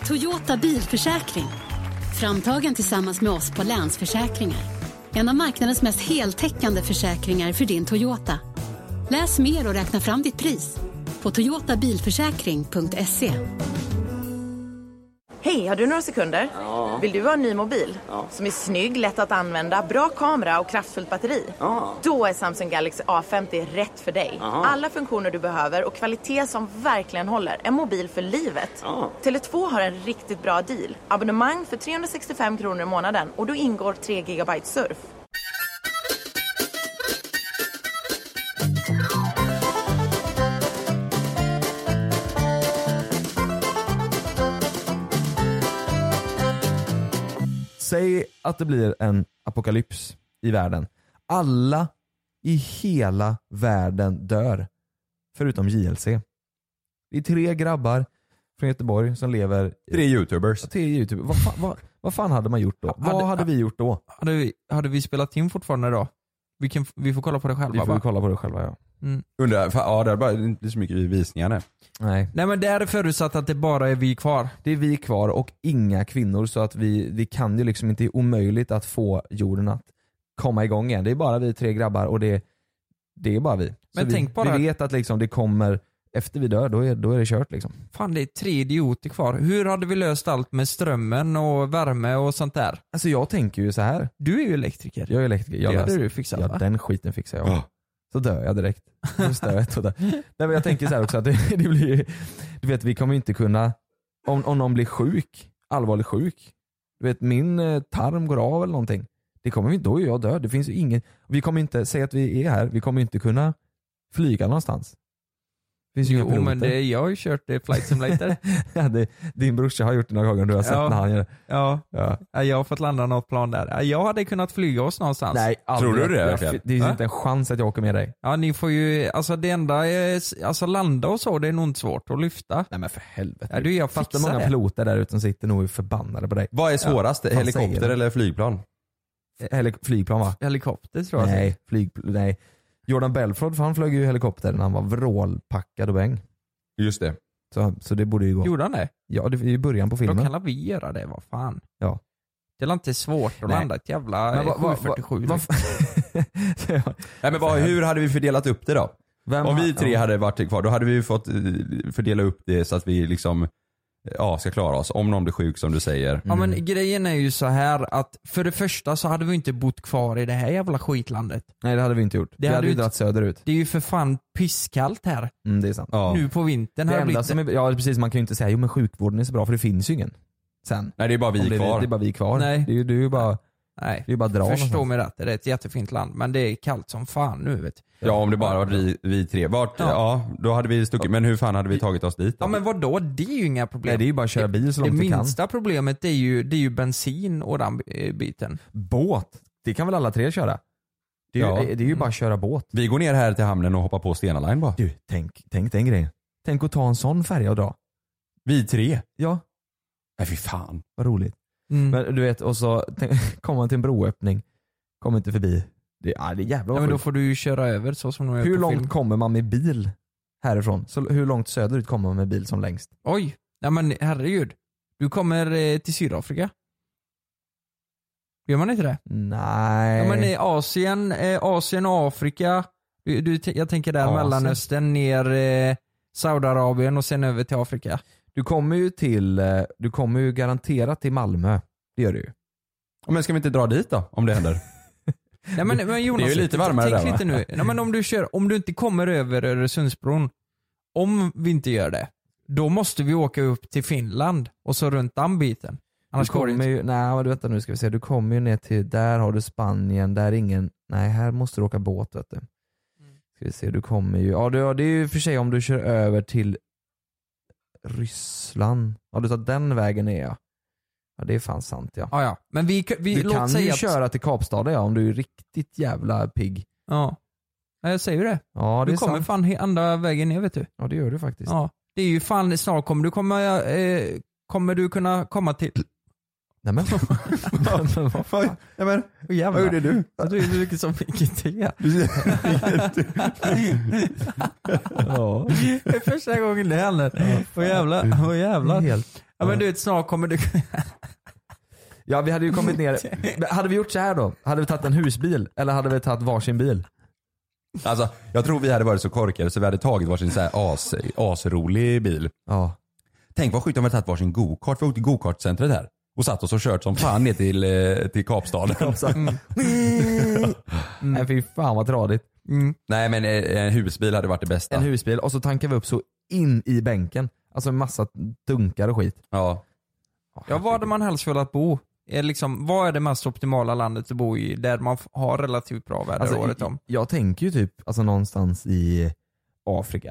S1: Toyota bilförsäkring. Framtagen tillsammans med oss på Länsförsäkringar. En av marknadens mest heltäckande försäkringar för din Toyota. Läs mer och räkna fram ditt pris på toyotabilförsäkring.se.
S2: Hej, har du några sekunder? Vill du ha en ny mobil? Som är snygg, lätt att använda, bra kamera och kraftfullt batteri? Då är Samsung Galaxy A50 rätt för dig. Alla funktioner du behöver och kvalitet som verkligen håller. En mobil för livet. Tele2 har en riktigt bra deal. Abonnemang för 365 kronor i månaden och då ingår 3 GB surf.
S3: Säg att det blir en apokalyps i världen. Alla i hela världen dör. Förutom JLC. Det är tre grabbar från Göteborg som lever
S4: Tre youtubers.
S3: Alltså, till Youtube. Vad fan, vad, vad fan hade man gjort då? Vad
S5: Hade-
S3: hade vi gjort då?
S5: Hade vi, hade vi spelat in fortfarande då? Vi, kan, vi får kolla på det
S3: Vi
S5: själva
S3: får ju
S5: va?
S3: kolla på det själva ja.
S4: Undrar, fan, ja det är bara det är inte så mycket visningar nu.
S3: Nej.
S5: Nej men det är förutsatt att det bara är vi kvar.
S3: Det är vi kvar och inga kvinnor så att vi, vi kan ju liksom inte, det är omöjligt att få jorden att komma igång igen. Det är bara vi tre grabbar och det, det är bara vi.
S5: Men
S3: så
S5: tänk
S3: vi,
S5: bara-
S3: vi vet att liksom det kommer, efter vi dör, då är, då är det kört liksom.
S5: Fan det är tre idioter kvar. Hur hade vi löst allt med strömmen och värme och sånt där?
S3: Alltså jag tänker ju så här.
S5: Du är ju elektriker.
S3: jag är elektriker, jag
S5: det hade
S3: löser-
S5: du fixat
S3: ja,
S5: va?
S3: den skiten fixar jag.
S4: Ja.
S3: Så dör jag direkt. Från stöt och dör. Nej men jag tänker så här också att det, det blir, du vet vi kommer ju inte kunna, om, om någon blir sjuk, allvarligt sjuk, du vet min eh, tarm går av eller någonting. Det kommer vi, då är jag död. Det finns ju ingen, vi kommer inte, säg att vi är här, vi kommer ju inte kunna flyga någonstans. Det finns ju inga
S5: Jo
S3: piloter.
S5: men det, jag har ju kört det flight simulator.
S3: ja, det, din brorsa har gjort det några gånger och du har sett
S5: Ja.
S3: när han gör det.
S5: ja.
S3: Ja.
S5: ja, jag har fått landa något plan där. Ja, Jag hade kunnat flyga oss någonstans.
S3: Nej, aldrig.
S4: Alltså, Tror du det
S3: Jag-
S4: verkligen?
S3: Det finns
S5: Va?
S3: inte en chans att jag åker med dig.
S5: Ja ni får ju, alltså det enda, är, alltså landa och så det är nog inte svårt att lyfta.
S3: Nej men för helvete.
S5: Ja, du, jag
S3: Fattar
S5: fixar
S3: många
S5: det.
S3: piloter där ute som sitter nog och är förbannade på dig.
S4: Vad är svårast,
S3: fan säger
S4: helikopter
S3: du?
S4: eller flygplan?
S3: Eller flygplan va?
S5: Helikopter tror jag.
S3: Nej, flyg, nej. Jordan Belford för han flög ju helikopter när han var vrålpackad och bäng.
S4: Just det.
S3: Så, så det borde ju gå.
S5: Gjorde han det?
S3: Ja, det är ju början på
S5: Då
S3: filmen.
S5: kan la vi göra det, vad fan.
S3: Ja.
S5: Det är inte svårt att
S3: Nej.
S5: landa ett jävla
S3: Men vad-
S5: eh,
S3: vad-
S5: 747.
S3: vad- Så jag-
S4: Nej, men vad, hur hade vi fördelat upp det då?
S3: Vem
S4: Om
S3: har-
S4: vi tre
S3: ja.
S4: hade varit kvar, då hade vi ju fått eh, fördela upp det så att vi liksom eh, ja, ska klara oss. Om någon blir sjuk som du säger.
S3: Mm.
S5: Ja men grejen är ju så här att för det första så hade vi inte bott kvar i det här jävla skitlandet.
S3: Nej det hade vi inte gjort. vi
S5: hade
S3: hade
S5: vi
S3: ju
S5: inte-
S3: dragit söderut.
S5: Det är ju för fan pisskallt här
S3: Mm, det är sant.
S4: Ja.
S5: nu på vintern.
S3: Det
S5: har
S3: enda
S5: blivit-
S3: som är, ja precis, man kan ju inte säga jo men sjukvården är så bra för det finns ju ingen. Sen.
S4: Nej det är bara
S3: Om det,
S4: vi
S3: är
S4: kvar.
S3: det är bara vi kvar.
S5: Nej.
S3: Det är ju det är ju bara,
S5: Nej.
S3: det är ju bara att dra
S5: Förstå
S3: någonstans.
S5: mig rätt, det är ett jättefint land men det är kallt som fan nu vet du.
S4: Ja om det bara var vi, vi tre. Vart, ja.
S5: Ja.
S4: då hade vi stuckit. Men hur fan hade vi tagit oss dit då?
S5: Ja men vadå, det är ju inga problem.
S3: Nej det är ju bara att köra bil så
S5: Det
S3: långt vi kan.
S5: minsta problemet är ju, det är ju bensin och den eh, biten.
S3: Båt, det kan väl alla tre köra? Det är ju,
S4: Ja.
S3: det är ju bara att köra båt.
S4: Vi går ner här till hamnen och hoppar på Stena Line bara.
S3: Du, tänk, tänk den grejen. Tänk att ta en sån färja och dra.
S4: Vi tre.
S3: Ja,
S4: Nej fy fan.
S3: vad roligt.
S5: Mm.
S3: Men du vet, och så tänk- kommer man till en broöppning, kommer inte förbi. Det, ja, det är jävla
S5: ja, men då får du ju köra över så som de gör
S3: Hur
S5: på
S3: långt
S5: film.
S3: kommer man med bil härifrån? Så, hur långt söderut kommer man med bil som längst?
S5: Oj, nej men herregud. Du kommer eh, till Sydafrika. Gör man inte det?
S3: Nej.
S5: Ja, men i Asien, eh, Asien och Afrika. Du, du, t- jag tänker där
S3: Asien.
S5: Mellanöstern, ner eh, Saudiarabien och sen över till Afrika.
S3: Du kommer ju till, eh, du kommer ju garanterat till Malmö. Det gör du ju.
S4: Ja, Men ska vi inte dra dit då? Om det händer.
S5: Nej, men, men Jonas,
S4: lite varmare
S5: tänk
S4: där, va?
S5: lite nu. Nej, men om, du kör, om du inte kommer över Öresundsbron om vi inte gör det, då måste vi åka upp till Finland och så runt den biten. Annars
S3: du
S5: går det
S3: kommer
S5: inte.
S3: ju, nej men du vänta nu ska vi se, du kommer ju ner till, där har du Spanien, där är ingen, nej här måste du åka båt vet du.
S5: Mm.
S3: Ska vi se, du kommer ju, ja, du, ja det är ju för sig om du kör över till Ryssland. Ja du tar den vägen ner ja. Ja det är fan sant ja.
S5: Ja, ja. Men vi, vi
S3: du
S5: låt
S3: kan
S5: säga
S3: ju
S5: att,
S3: köra till Kapstaden ja om du är riktigt jävla pigg.
S5: Ja. Ja, Jag säger ju det.
S3: Ja det
S5: du
S3: är
S5: kommer
S3: sant.
S5: fan he- andra vägen ner vet du.
S3: Ja det gör du faktiskt.
S5: Ja. Det är ju fan, snart kommer du komma, eh, kommer du kunna komma till...
S3: Nej men. Nej, men vad fan.
S4: Ja, men,
S5: Åh, jävlar.
S4: du?
S5: Du är mycket som vilket te.
S3: Ja.
S5: Det är första gången det händer. Åh jävlar. Åh jävlar.
S3: Helt.
S5: Ja, men du vet, snart kommer du...
S3: Ja vi hade ju kommit ner, Men hade vi gjort så här då? Hade vi tagit en husbil? Eller hade vi tagit varsin bil?
S4: Alltså, jag tror vi hade varit så korkade så vi hade tagit varsin så här as, asrolig bil.
S3: Ja.
S4: Tänk vad sjukt om vi hade tagit varsin gokart. Vi åkte till gokartcentret här och satt oss och kört som fan ner till, eh, till Kapstaden. Mm.
S3: Nej fy fan vad tradigt.
S4: Nej men eh, en husbil hade varit det bästa.
S3: En husbil och så tankar vi upp så in i bänken. Alltså en massa dunkar och skit.
S4: ja.
S5: Ja, var hade man helst velat bo? Är liksom, vad är det mest optimala landet att bo i där man f- har relativt bra väder
S3: Alltså,
S5: året om?
S3: Jag, jag tänker ju typ alltså, någonstans i Afrika.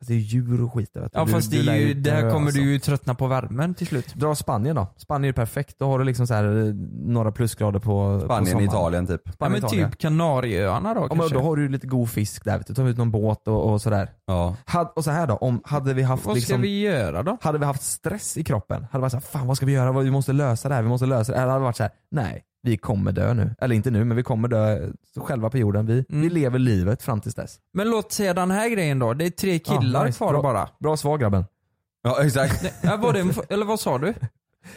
S3: Alltså, det är djur och skit där vet du.
S5: Ja
S3: Du-
S5: fast
S3: du
S5: det
S3: lär
S5: är ju, där
S3: dö,
S5: kommer
S3: alltså.
S5: du ju tröttna på värmen till slut.
S3: Dra Spanien då. Spanien är perfekt. Då har du liksom så här, eh, några plusgrader på på
S4: Spanien,
S3: sommaren.
S4: Italien typ.
S5: Ja,
S3: Spanien,
S5: men
S3: Italien.
S5: typ Kanarieöarna då
S3: Ja, men
S5: kanske?
S3: då har du ju lite god fisk där vet du. Ta ut någon båt och, och sådär.
S4: Ja.
S3: Had, och så här då, om, hade vi haft
S5: Vad ska
S3: liksom
S5: vi göra då?
S3: Hade vi haft stress i kroppen, hade vi varit såhär, fan vad ska vi göra? Vad- Vi måste lösa det här, vi måste lösa det här. Eller hade vi varit såhär, nej, vi kommer dö nu. Eller inte nu, men vi kommer dö själva på jorden. Vi, vi
S5: Mm.
S3: lever livet fram tills dess.
S5: Men låt säga den här grejen då, det är tre killar
S3: nice.
S5: kvar
S3: Bra.
S5: bara.
S3: Bra svar grabben.
S4: Ja exakt.
S5: Ja, var det en, f- eller vad sa du?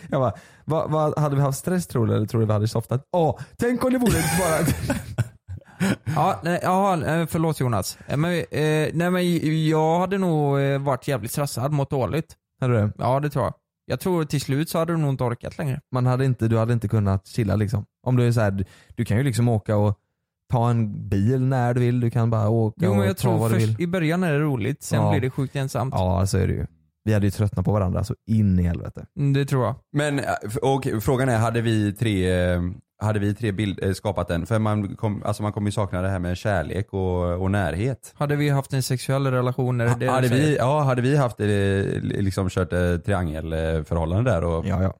S3: Jag bara, vad, vad, hade vi haft stress tror du eller tror du vi hade softat? Åh, tänk om det vore bara...
S5: Ja, nej, ja, eh, förlåt Jonas. Eh, Men, eh, nej men jag hade nog eh, varit jävligt stressad, mått dåligt.
S3: Hade du det?
S5: Ja det tror jag. Jag tror till slut så hade du nog inte orkat längre.
S3: Man hade inte, du hade inte kunnat chilla liksom. Om du är såhär, du, du kan ju liksom åka och ta en bil när du vill, du kan bara åka
S5: Jo
S3: och
S5: men jag
S3: ta
S5: tror
S3: vad du vill.
S5: först, i början är det roligt, sen
S3: Ja.
S5: blir det sjukt ensamt.
S3: Ja så är det ju. Vi hade ju tröttnat på varandra så in i helvete.
S5: Mm, Det tror jag.
S4: Men eh, f- och frågan är, hade vi tre, eh, hade vi tre bild, eh, skapat den? För man, kom, alltså man kommer ju sakna det här med kärlek och, och närhet.
S5: Hade vi haft en sexuell relation? Är det det du
S4: hade,
S5: säger?
S4: vi, ja, hade vi haft eh, liksom kört eh, triangelförhållande där? Och,
S3: Ja ja.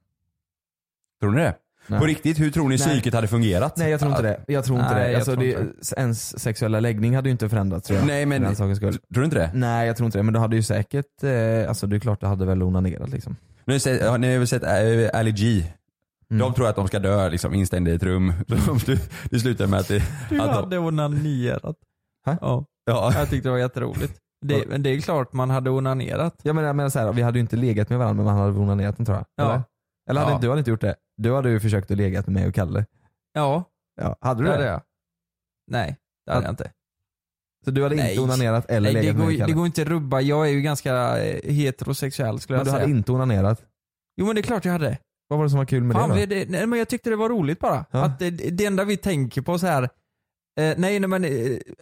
S4: Tror ni det?
S3: Nej.
S4: På riktigt, hur tror ni
S3: Nej.
S4: psyket hade fungerat?
S3: Nej jag tror inte
S4: Ja.
S3: det. Jag tror inte
S5: Nej,
S3: det.
S5: jag
S3: Alltså,
S5: tror
S3: det
S5: inte
S3: ens sexuella läggning hade ju inte förändrats tror jag.
S4: Nej, men-
S3: för den sakens skull.
S4: Tror du inte det?
S3: Nej jag tror inte det. Men du hade ju säkert, eh, alltså det är klart du hade väl onanerat liksom.
S4: Nu har ni sett, har ni väl sett äh, Ali G?
S3: Mm.
S4: De tror att de ska dö liksom, instängda i ett rum. det, det slutar med att, det,
S5: Du
S4: att de,
S5: hade onanerat.
S3: Hä?
S5: Ja,
S4: ja,
S5: jag tyckte det var jätteroligt. Det, men det är klart man hade onanerat.
S3: Jag menar, jag menar så här, vi hade ju inte legat med varandra men man hade väl onanerat den tror jag.
S5: Ja.
S3: Eller, eller hade,
S5: Ja.
S3: inte- du hade inte gjort det? Du hade ju försökt att legat med mig och Kalle.
S5: Ja,
S3: Ja, hade du
S5: det
S3: det?
S5: hade jag. Nej, det hade jag inte.
S3: Så du hade
S5: Nej.
S3: inte onanerat eller
S5: Nej, det,
S3: legat med
S5: går,
S3: mig
S5: ju-
S3: och
S5: det
S3: Kalle?
S5: går inte att rubba, jag är ju ganska eh, heterosexuell skulle
S3: men
S5: jag
S3: du
S5: säga.
S3: hade inte onanerat?
S5: Jo men det är klart jag hade.
S3: Vad var det som var kul med
S5: Fan,
S3: det då?
S5: vi, det, nej, men jag tyckte det var roligt bara.
S3: Ja.
S5: Att det, det enda vi tänker på så här. Eh, nej, nej men eh,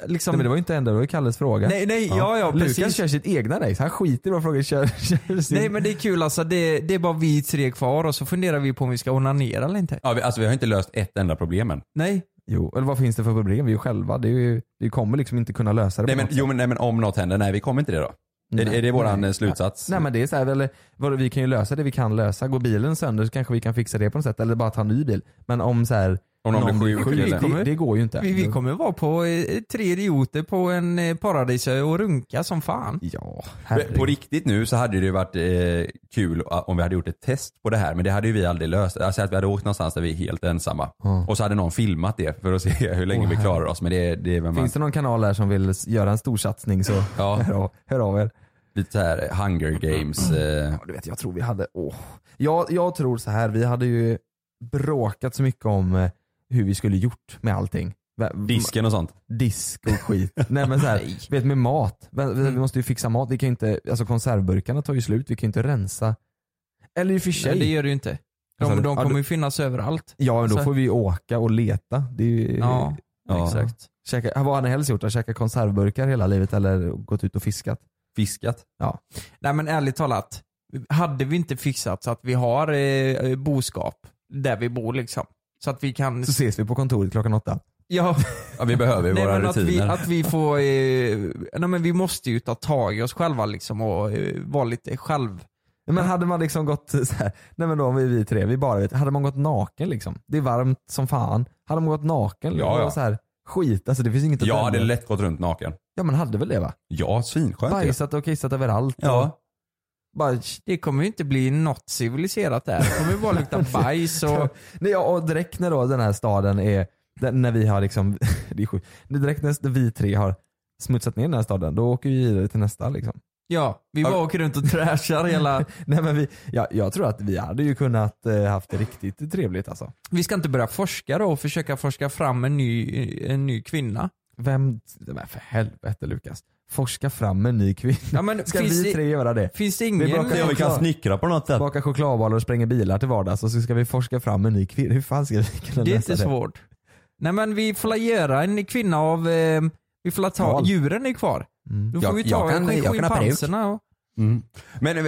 S5: liksom.
S3: Nej, men det var ju inte ändå, det var ju Kalles fråga.
S5: nej, nej, ja, ja,
S3: Lukas
S5: precis.
S3: kör sitt egna race, han skiter i vad frågan kör, kör sin.
S5: Nej men det är kul alltså, det, det är bara vi tre kvar och så funderar vi på om vi ska onanera eller inte.
S4: ja, vi, alltså, vi har inte löst ett enda problem än.
S5: Nej,
S3: Jo, eller vad finns det för problem? Vi är ju själva, det är ju, vi kommer liksom inte kunna lösa det
S4: Nej
S3: på
S4: men,
S3: något
S4: jo, men, nej men om något händer, nej vi kommer inte det då. Är,
S3: Nej.
S4: är det våran
S3: Nej.
S4: eh, slutsats?
S3: Nej men det är så här, eller, vadå, vi kan ju lösa det vi kan lösa. Går bilen sönder så kanske vi kan fixa det på något sätt. Eller bara ta en ny bil. Men om så här,
S4: Om någon blir sjuk eller-
S3: det, det går ju inte.
S5: vi, vi kommer vara på eh, tre idioter på en eh, paradisö och runka som fan.
S3: Ja,
S4: Men På
S3: herregud.
S4: riktigt nu så hade det ju varit eh, kul eh, om vi hade gjort ett test på det här men det hade ju vi aldrig löst. Alltså att vi hade åkt någonstans där vi är helt ensamma.
S3: Ja.
S4: Och så hade någon filmat det för att se hur länge
S3: Åh,
S4: vi klarar oss. Men det, det är väl man,
S3: Finns det någon kanal här som vill s- göra en stor satsning så
S4: Ja.
S3: hör, av, hör av er.
S4: lite så här hunger games. Eh,
S3: Ja, du vet, jag tror vi hade, åh. Jag, jag tror så här, vi hade ju bråkat så mycket om eh, hur vi skulle gjort med allting. Va-
S4: disken och sånt.
S3: disk och skit. Nej Mm. men så här, vet med mat. Vi, vi vi måste ju fixa mat. Vi kan ju inte, alltså konservburkarna tar ju slut, vi kan ju inte rensa. Eller i och för sig.
S5: Nej, det gör det ju inte.
S3: Vad sa
S5: De,
S3: du?
S5: de
S3: Ja,
S5: kommer
S3: du-
S5: ju finnas överallt.
S3: Ja men då
S5: Så-
S3: får vi ju åka och leta. Det är ju,
S5: Ja,
S4: Ja.
S5: exakt.
S3: käka, vad hade ni helst gjort? Käka konservburkar hela livet eller gått ut och fiskat?
S4: Fiskat.
S5: Nej men ärligt talat, hade vi inte fixat så att vi har eh, boskap där vi bor liksom. Så att vi kan...
S3: Så ses vi på kontoret klockan åtta.
S5: Ja,
S4: Ja, vi behöver ju
S5: nej,
S4: våra
S5: men att, vi,
S4: rutiner.
S5: att vi får... Eh, nej men vi måste ju ta tag i oss själva liksom och eh, vara lite själv...
S3: Men hade man liksom gått så här, nej men då om vi, vi tre, vi bara vet, hade man gått naken liksom? Det är varmt som fan. Hade man gått naken?
S4: Ja, ja.
S3: Och så här, skit, alltså det finns inget att
S4: Jag
S3: välja.
S4: hade lätt gått runt naken.
S3: Ja man hade väl det va?
S4: Ja, svinskönt ju.
S3: Bajsat och kissat överallt.
S4: Ja.
S5: Bara, det kommer ju inte bli något civiliserat där. Det kommer ju bara lukta bajs och...
S3: Nej, ja, och direkt när då den här staden är, där- när vi har liksom, det är sjukt. Det är direkt när vi tre har smutsat ner den här staden, då åker vi vidare till nästa liksom.
S5: Ja, vi bara åker runt och trashar hela...
S3: Nej men vi, ja, jag tror att vi hade ju kunnat eh, haft det riktigt trevligt alltså.
S5: Vi ska inte börja forska då och försöka forska fram en ny, en ny kvinna.
S3: Vem, men för helvete Lukas. Forska fram en ny kvinna.
S5: Ja, men
S3: Ska
S5: finns
S3: vi
S5: det-
S3: tre göra det?
S5: Finns det ingen...
S3: Vi brakar-
S4: Ja, vi kan snickra på något sätt.
S3: Baka chokladbollar och spränga bilar till vardags och så ska vi forska fram en ny kvinna. Hur fan ska vi kunna
S5: Det är
S3: lösa
S5: inte svårt. Nej men vi får la göra en kvinna av, eh, vi får la ta,
S3: Val.
S5: djuren är kvar.
S3: Mm.
S5: Då får
S4: Jag-
S5: vi
S4: jag
S5: ta
S4: kan- jag kan ha
S5: schimpanserna och...
S4: Mm. Men eh,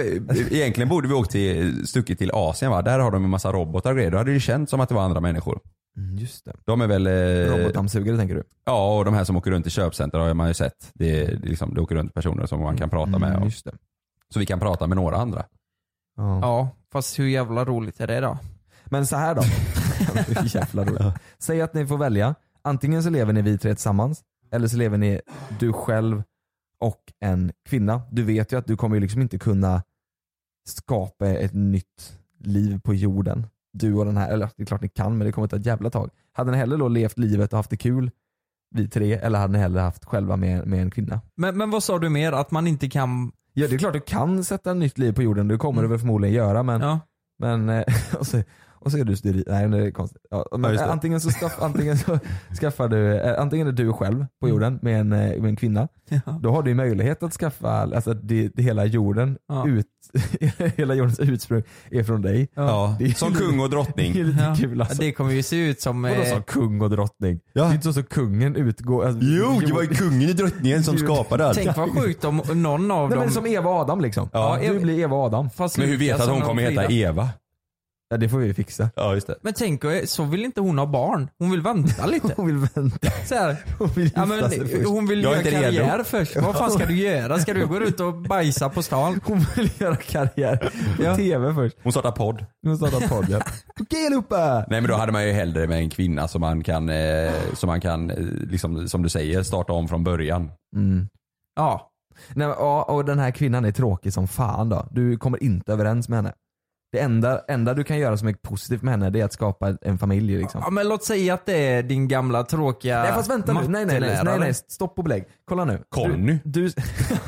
S4: egentligen borde vi åkt till, stuckit till Asien va? Där har de en massa robotar och grejer. Då hade det ju känts som att det var andra människor.
S3: Mm, Just det.
S4: De är väl... eh,
S3: Robotdammsugare tänker du?
S4: Ja, och de här som åker runt i köpcenter har man ju sett. Det, är, det är liksom, det åker runt personer som man kan prata med.
S3: Mm,
S4: Och,
S3: Just det.
S4: så vi kan prata med några andra.
S3: Ja.
S5: Ja, fast hur jävla roligt är det då?
S3: Men så här då. Jävla roligt. Säg att ni får välja. Antingen så lever ni vi tre tillsammans eller så lever ni du själv och en kvinna. Du vet ju att du kommer ju liksom inte kunna skapa ett nytt liv på jorden. Du och den här, eller det är klart ni kan men det kommer ta ett jävla tag. Hade ni hellre då levt livet och haft det kul vi tre eller hade ni hellre haft själva med, med en kvinna?
S5: Men, men vad sa du mer? Att man inte kan...
S3: Ja det är klart du kan sätta ett nytt liv på jorden, det kommer du väl förmodligen göra men
S5: Ja.
S3: Men, eh, och, så, och så är du steril. Nej men det är konstigt. Ja, men,
S4: just det.
S3: eh, antingen, så skaff, antingen så skaffar du, eh, antingen är du själv på jorden med en, eh, med en kvinna.
S5: Ja.
S3: Då har du ju möjlighet att skaffa, alltså det, det hela jorden,
S5: Ja.
S3: ut, hela jordens utsprung är från dig.
S4: Ja.
S3: Det är-
S4: Som kung och
S3: Det är
S4: drottning.
S3: lite
S5: Ja.
S3: kul alltså.
S5: Det kommer ju se ut som...
S3: Vadå
S5: eh,
S3: som kung och drottning?
S4: Ja.
S3: Det är inte så som kungen utgår. Alltså, jord-
S4: kungen och drottningen
S3: som skapade
S4: allt.
S5: Tänk vad sjukt om någon av
S3: Nej,
S5: dem...
S3: men som Eva och Adam liksom.
S4: Ja.
S3: du blir Eva och Adam.
S5: fast
S4: Men hur vet
S5: lyckas
S4: att hon
S5: om de
S4: kommer heta
S5: fyra.
S4: Eva?
S3: Ja, det får vi fixa.
S4: Ja, just det.
S5: Men tänk, eh, så vill inte hon ha barn. Hon vill vänta lite.
S3: Hon vill vänta.
S5: Så här.
S3: Hon vill gifta
S5: Ja, men,
S3: sig först.
S5: hon vill
S4: Jag är
S5: göra
S4: inte redo.
S5: karriär först. Vad fan ska du göra? Ska du gå ut och bajsa på stan?
S3: Hon vill göra karriär på
S5: Ja.
S3: tv först.
S4: Hon startar podd.
S3: Nu startar podden. Okej allihopa!
S4: Nej men då hade man ju hellre med en kvinna som man kan, eh, som man kan, eh, liksom, som du säger, starta om från början.
S5: Ja.
S3: Nej, men, Mm. ja, och den här kvinnan är tråkig som fan då. Du kommer inte överens med henne. Det enda, enda du kan göra som är positivt med henne det är att skapa en familj liksom.
S5: ja, men låt säga att det är din gamla tråkiga
S3: Nej fast vänta nu, nej nej, nej nej
S5: mattelärare.
S3: nej stopp och belägg. Kolla nu.
S4: Conny.
S3: Du, du,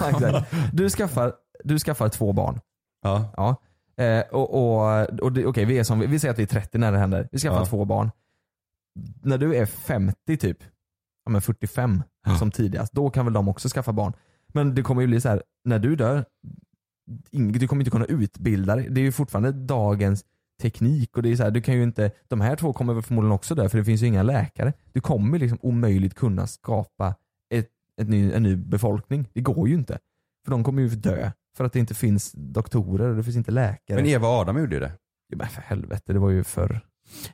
S3: exakt. du, skaffar, du skaffar två barn.
S4: Ja.
S3: Ja. Eh, och, och, och det, okej, vi, är som, vi säger att vi är 30 när det händer. Vi skaffar
S4: Ja.
S3: två barn. När du är 50 typ, ja men 45
S4: Ja.
S3: som tidigast, då kan väl de också skaffa barn. Men det kommer ju bli så här, när du dör, ing- du kommer inte kunna utbilda dig. Det är ju fortfarande dagens teknik och det är så här, du kan ju inte, de här två kommer väl förmodligen också dö för det finns ju inga läkare. Du kommer liksom omöjligt kunna skapa ett, ett ny, en ny befolkning. Det går ju inte. För de kommer ju dö. För att det inte finns doktorer och det finns inte läkare.
S4: Men Eva och Adam gjorde ju det.
S3: Ja, men för helvete, det var ju förr.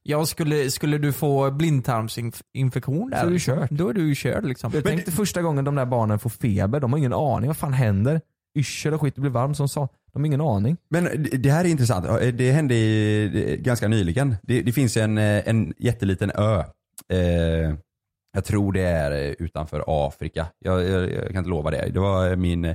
S5: Jag skulle, skulle du få blindtarmsinfektion där?
S3: Så är du kört.
S5: Då är du ju körd liksom.
S3: Jag
S5: Tänk-
S3: tänkte första gången de där barnen får feber, de har ingen aning. Vad fan händer? Yrsel och skit, det blir varmt som sa. De har ingen aning.
S4: Men det- det här är intressant. eh, Det hände i, det- ganska nyligen. Det, det finns en, eh, en jätteliten ö. Eh, jag tror det är eh, utanför Afrika. Jag, jag, jag kan inte lova det. Det var eh, min,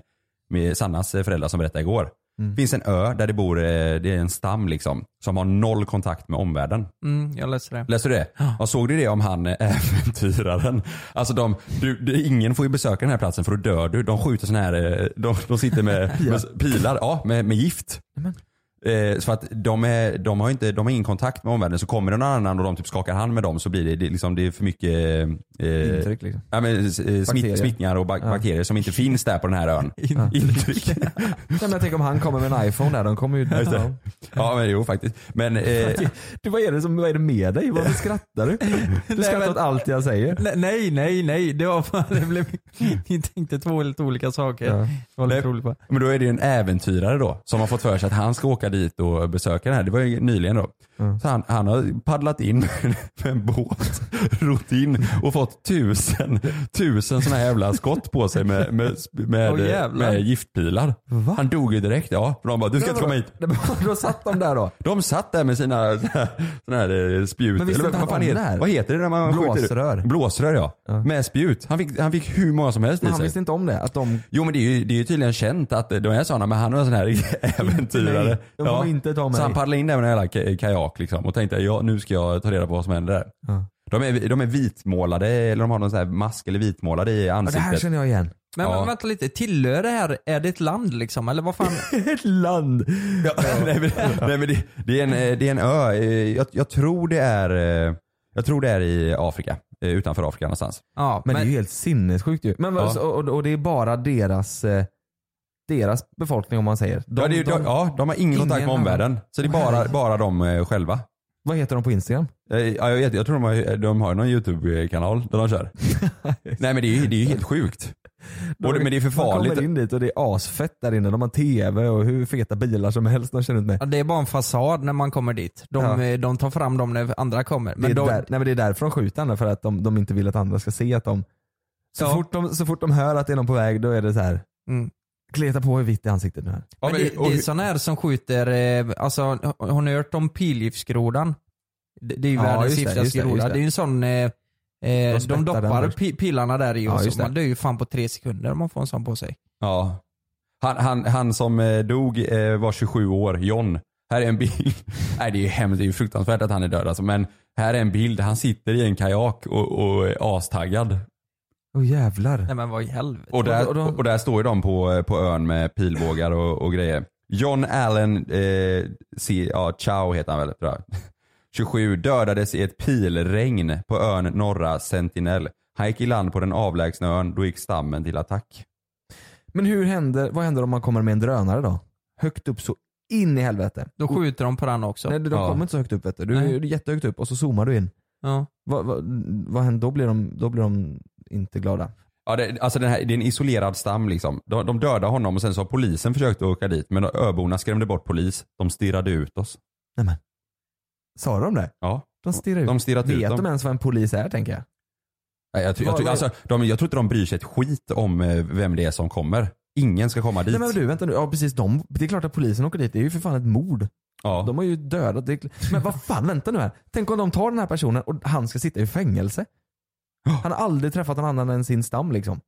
S4: min Sannas eh, föräldrar som berättade igår.
S3: Mm.
S4: Det finns en ö där det bor, eh, det är en stam liksom, som har noll kontakt med omvärlden.
S5: Mm, jag läser det.
S4: Läste du det?
S5: Ja.
S4: Ja. Såg du det om han eh, äventyraren? Alltså de, du, du, ingen får ju besöka den här platsen för då dör du. De skjuter sån här, eh, de, de sitter med, med pilar, ja med, med gift.
S3: Nämen.
S4: Eh, så för att de, är, de, har ju inte, de har ingen kontakt med omvärlden så kommer det någon annan och de typ skakar hand med dem så blir det, det, är liksom, det är för mycket eh,
S3: Intryck liksom.
S4: ja, men, eh, smitt,
S3: Bakterier.
S4: smittningar och ba-
S3: Ja.
S4: bakterier som inte finns där på den här ön.
S3: Ja.
S4: Intryck.
S3: Nej, men jag tänker om han kommer med en iPhone där, de kommer ju...
S4: Just
S3: Ja.
S4: det. Ja men jo faktiskt. Men, eh,
S3: Du, vad, är det som, vad är det med dig? Varför skrattar du? Du skrattar
S5: men-
S3: åt allt jag säger.
S5: Nej, nej, nej. Det, var, det blev Ni tänkte två helt olika saker.
S3: Ja.
S5: Det var lite
S4: Nej.
S5: roligt bara.
S4: Men då är det ju en äventyrare då som har fått för sig att han ska åka dit och besöka den här. Det var ju nyligen då.
S3: Mm.
S4: Så han, han har paddlat in med en båt, rott in och fått tusen, tusen sådana här jävla skott på sig med, med, med,
S5: Åh, jävlar.
S4: med giftpilar. Han dog ju direkt ja. För De bara, du ska inte komma hit.
S3: Nej, men Då satt de där då.
S4: De satt där med sina såna här eh, spjut.
S3: Men visst
S4: eller
S3: är det
S4: vad, fan
S3: om
S4: heter,
S3: där?
S4: vad heter det när man skjuter?
S3: Blåsrör.
S4: Blåsrör ja.
S3: Ja.
S4: Med spjut. Han fick, han fick hur många som helst
S3: Men
S4: i
S3: han
S4: sig.
S3: visste inte om det. Att de,
S4: Jo men det är, ju, det är ju tydligen känt att de är sådana men han var en sån här äventyrare.
S3: Nej, de kommer inte ta mig.
S4: Så han paddlade in där med en jävla ka- kajak liksom och tänkte ja, nu ska jag ta reda på vad som händer där.
S3: Ja.
S4: De, är, de är vitmålade eller de har någon sån här mask eller vitmålade i
S3: Ja, det
S4: ansiktet.
S3: här känner jag igen.
S5: Men
S4: Ja.
S5: men vänta lite, tillhör det här, är det ett land liksom? Eller vad fan?
S3: Ett land.
S4: Ja, nej, men, nej, men det, det, är en, eh, det är en ö, Eh, jag, jag tror det är eh, jag tror det är i Afrika, eh, utanför Afrika någonstans.
S5: Ja,
S3: Men, det är ju helt sinnessjukt ju. Men, vad-
S4: Ja.
S3: så- och, och det är bara deras, eh, deras befolkning om man säger. De,
S4: ja, det är, ju-
S3: de,
S4: ja, de har ingen,
S3: ingen
S4: kontakt med
S3: annan.
S4: omvärlden. Så det är bara,
S3: Herregud.
S4: bara de eh, själva.
S3: Vad heter de på Instagram?
S4: Eh, Ja, jag, vet, jag tror de har, de har någon YouTube-kanal där de kör. Nej men det är, ju- det är ju helt sjukt. Och det, men det är för
S3: De
S4: farligt.
S3: kommer in dit och det är asfett där inne. De har tv och hur feta bilar som helst de kör runt med.
S5: Ja, det är bara en fasad när man kommer dit. De,
S3: Ja.
S5: eh, de tar fram dem när andra kommer.
S3: Det
S5: Men
S3: är,
S5: de,
S3: där, nej, men det är därför de skjuter andra, för att de, de inte vill att andra ska se att de så,
S5: Ja.
S3: fort de... så fort de hör att det är någon på väg, då är det så här.
S5: Mm.
S3: Kleta på i vitt i ansiktet nu här.
S4: Ja,
S5: men
S4: men-
S5: det,
S4: och-
S5: det är sådana här som skjuter, eh, alltså har har ni hört om pilgiftsgrodan? Det, det är ju
S3: Ja, just
S5: världens
S3: det, just det,
S5: giftigaste
S3: just
S5: groda.
S3: det.
S5: Det är ju en sån, eh, eh, de,
S3: spettar den
S5: doppar
S3: först.
S5: pi, pilarna där i
S3: Ja,
S5: och
S3: just
S5: så.
S3: det.
S5: Man dör ju fan på tre sekunder om man får en sån på sig.
S4: Ja. Han, han, han som eh, dog eh, var 27 år, John. Här är en bild. Nej det är ju hemskt, det är ju fruktansvärt att han är död alltså. Men här är en bild, han sitter i en kajak och, och är astaggad.
S3: Åh jävlar.
S5: Nej men vad i helvete.
S4: Och där,
S3: Och
S4: och,
S3: de-
S4: där står ju de på, på ön med pilbågar och, och grejer. John Allen eh, C, ja, Chow heter han väl tror jag. 27 dödades i ett pilregn på ön Norra Sentinel. Han gick i land på den avlägsna ön, då gick stammen till attack.
S3: Men hur händer, vad händer om man kommer med en drönare då? Högt upp så in i helvete.
S5: Då skjuter de på den också.
S3: Nej, de
S4: Ja.
S3: kommer inte så högt upp vet du. Du
S5: Nej.
S3: är jättehögt upp och så zoomar du in.
S5: Ja.
S3: Vad, vad, vad händer? Då blir, de, då blir de inte glada.
S4: Ja, det, alltså den här, det är en isolerad stam liksom. De, de dödade honom och sen så har polisen försökt att åka dit men öborna skrämde bort polis. De stirrade ut oss.
S3: Sa de det?
S4: Ja,
S3: De stirrar ut.
S4: de stirrade ut
S3: Vet de
S4: dem.
S3: ens vad en polis är tänker jag?
S4: Nej, Jag, tror- jag,
S3: Vad-
S4: tror-
S3: vad-
S4: alltså, de, jag tror inte de bryr sig ett skit om eh, vem det är som kommer. Ingen ska komma dit.
S3: Nej men du vänta nu, ja precis de, det är klart att polisen åker dit, det är ju för fan ett mord.
S4: ja.
S3: De har ju dödat, det är, kl- men vad fan vänta nu här. Tänk om de tar den här personen och han ska sitta i fängelse. Han har aldrig träffat någon annan än sin stam liksom.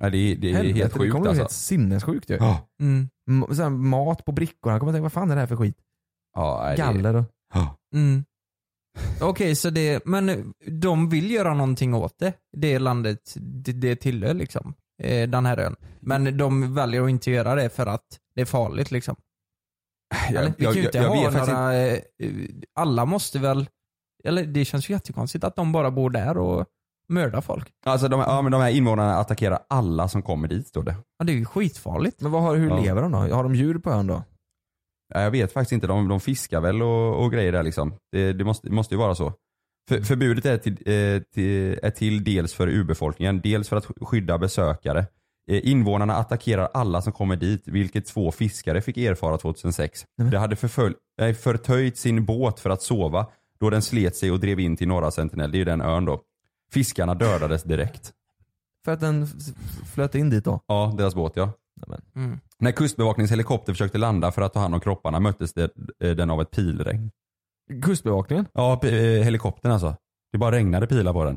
S4: Nej, det, är- det är
S3: Helvete,
S4: helt
S3: det kommer
S4: sjukt
S3: bli
S4: alltså.
S3: helt sinnessjukt ju.
S4: Ja.
S5: Mm.
S3: M- så här, mat på brickor, han kommer tänka vad fan är det här för skit?
S4: Ja, nej, det-
S3: Galler och...
S4: Ja.
S5: Mm. Okej, så det, men eh, de vill göra någonting åt det. Det landet det, det tillhör liksom. Eh, den här ön. Men de väljer att inte göra det för att det är farligt liksom. Eller?
S4: Jag,
S5: Vi kan
S4: jag,
S5: ju
S4: jag,
S5: inte
S4: jag
S5: ha
S4: vet faktiskt inte.
S5: några, eh, alla måste väl, eller det känns ju jättekonstigt att de bara bor där och mördar folk.
S4: Alltså de, ja, men de här invånarna attackerar alla som kommer dit står det.
S5: Ja, det är ju skitfarligt.
S3: Men vad har, hur
S4: Ja.
S3: lever de då? Har de djur på ön då?
S4: Ja, Jag vet faktiskt inte, de, de fiskar väl och, och grejer där liksom. Det, det, måste, det måste ju vara så. För, förbudet är till, eh, till, är till dels för urbefolkningen, dels för att skydda besökare. Eh, invånarna attackerar alla som kommer dit, vilket två fiskare fick erfara 2006.
S3: Nej, men-
S4: De hade förfölj, nej, förtöjt sin båt för att sova då den slet sig och drev in till norra Sentinel, det är ju den ön då. Fiskarna dödades direkt.
S3: För att den f- flöt in dit då?
S4: Ja, deras båt ja.
S5: Mm.
S4: När kustbevakningshelikopter försökte landa för att ta hand om kropparna möttes det, eh, den av ett pilregn.
S3: Kustbevakningen?
S4: Ja, p- eh, helikoptern alltså. Det bara regnade pilar på den.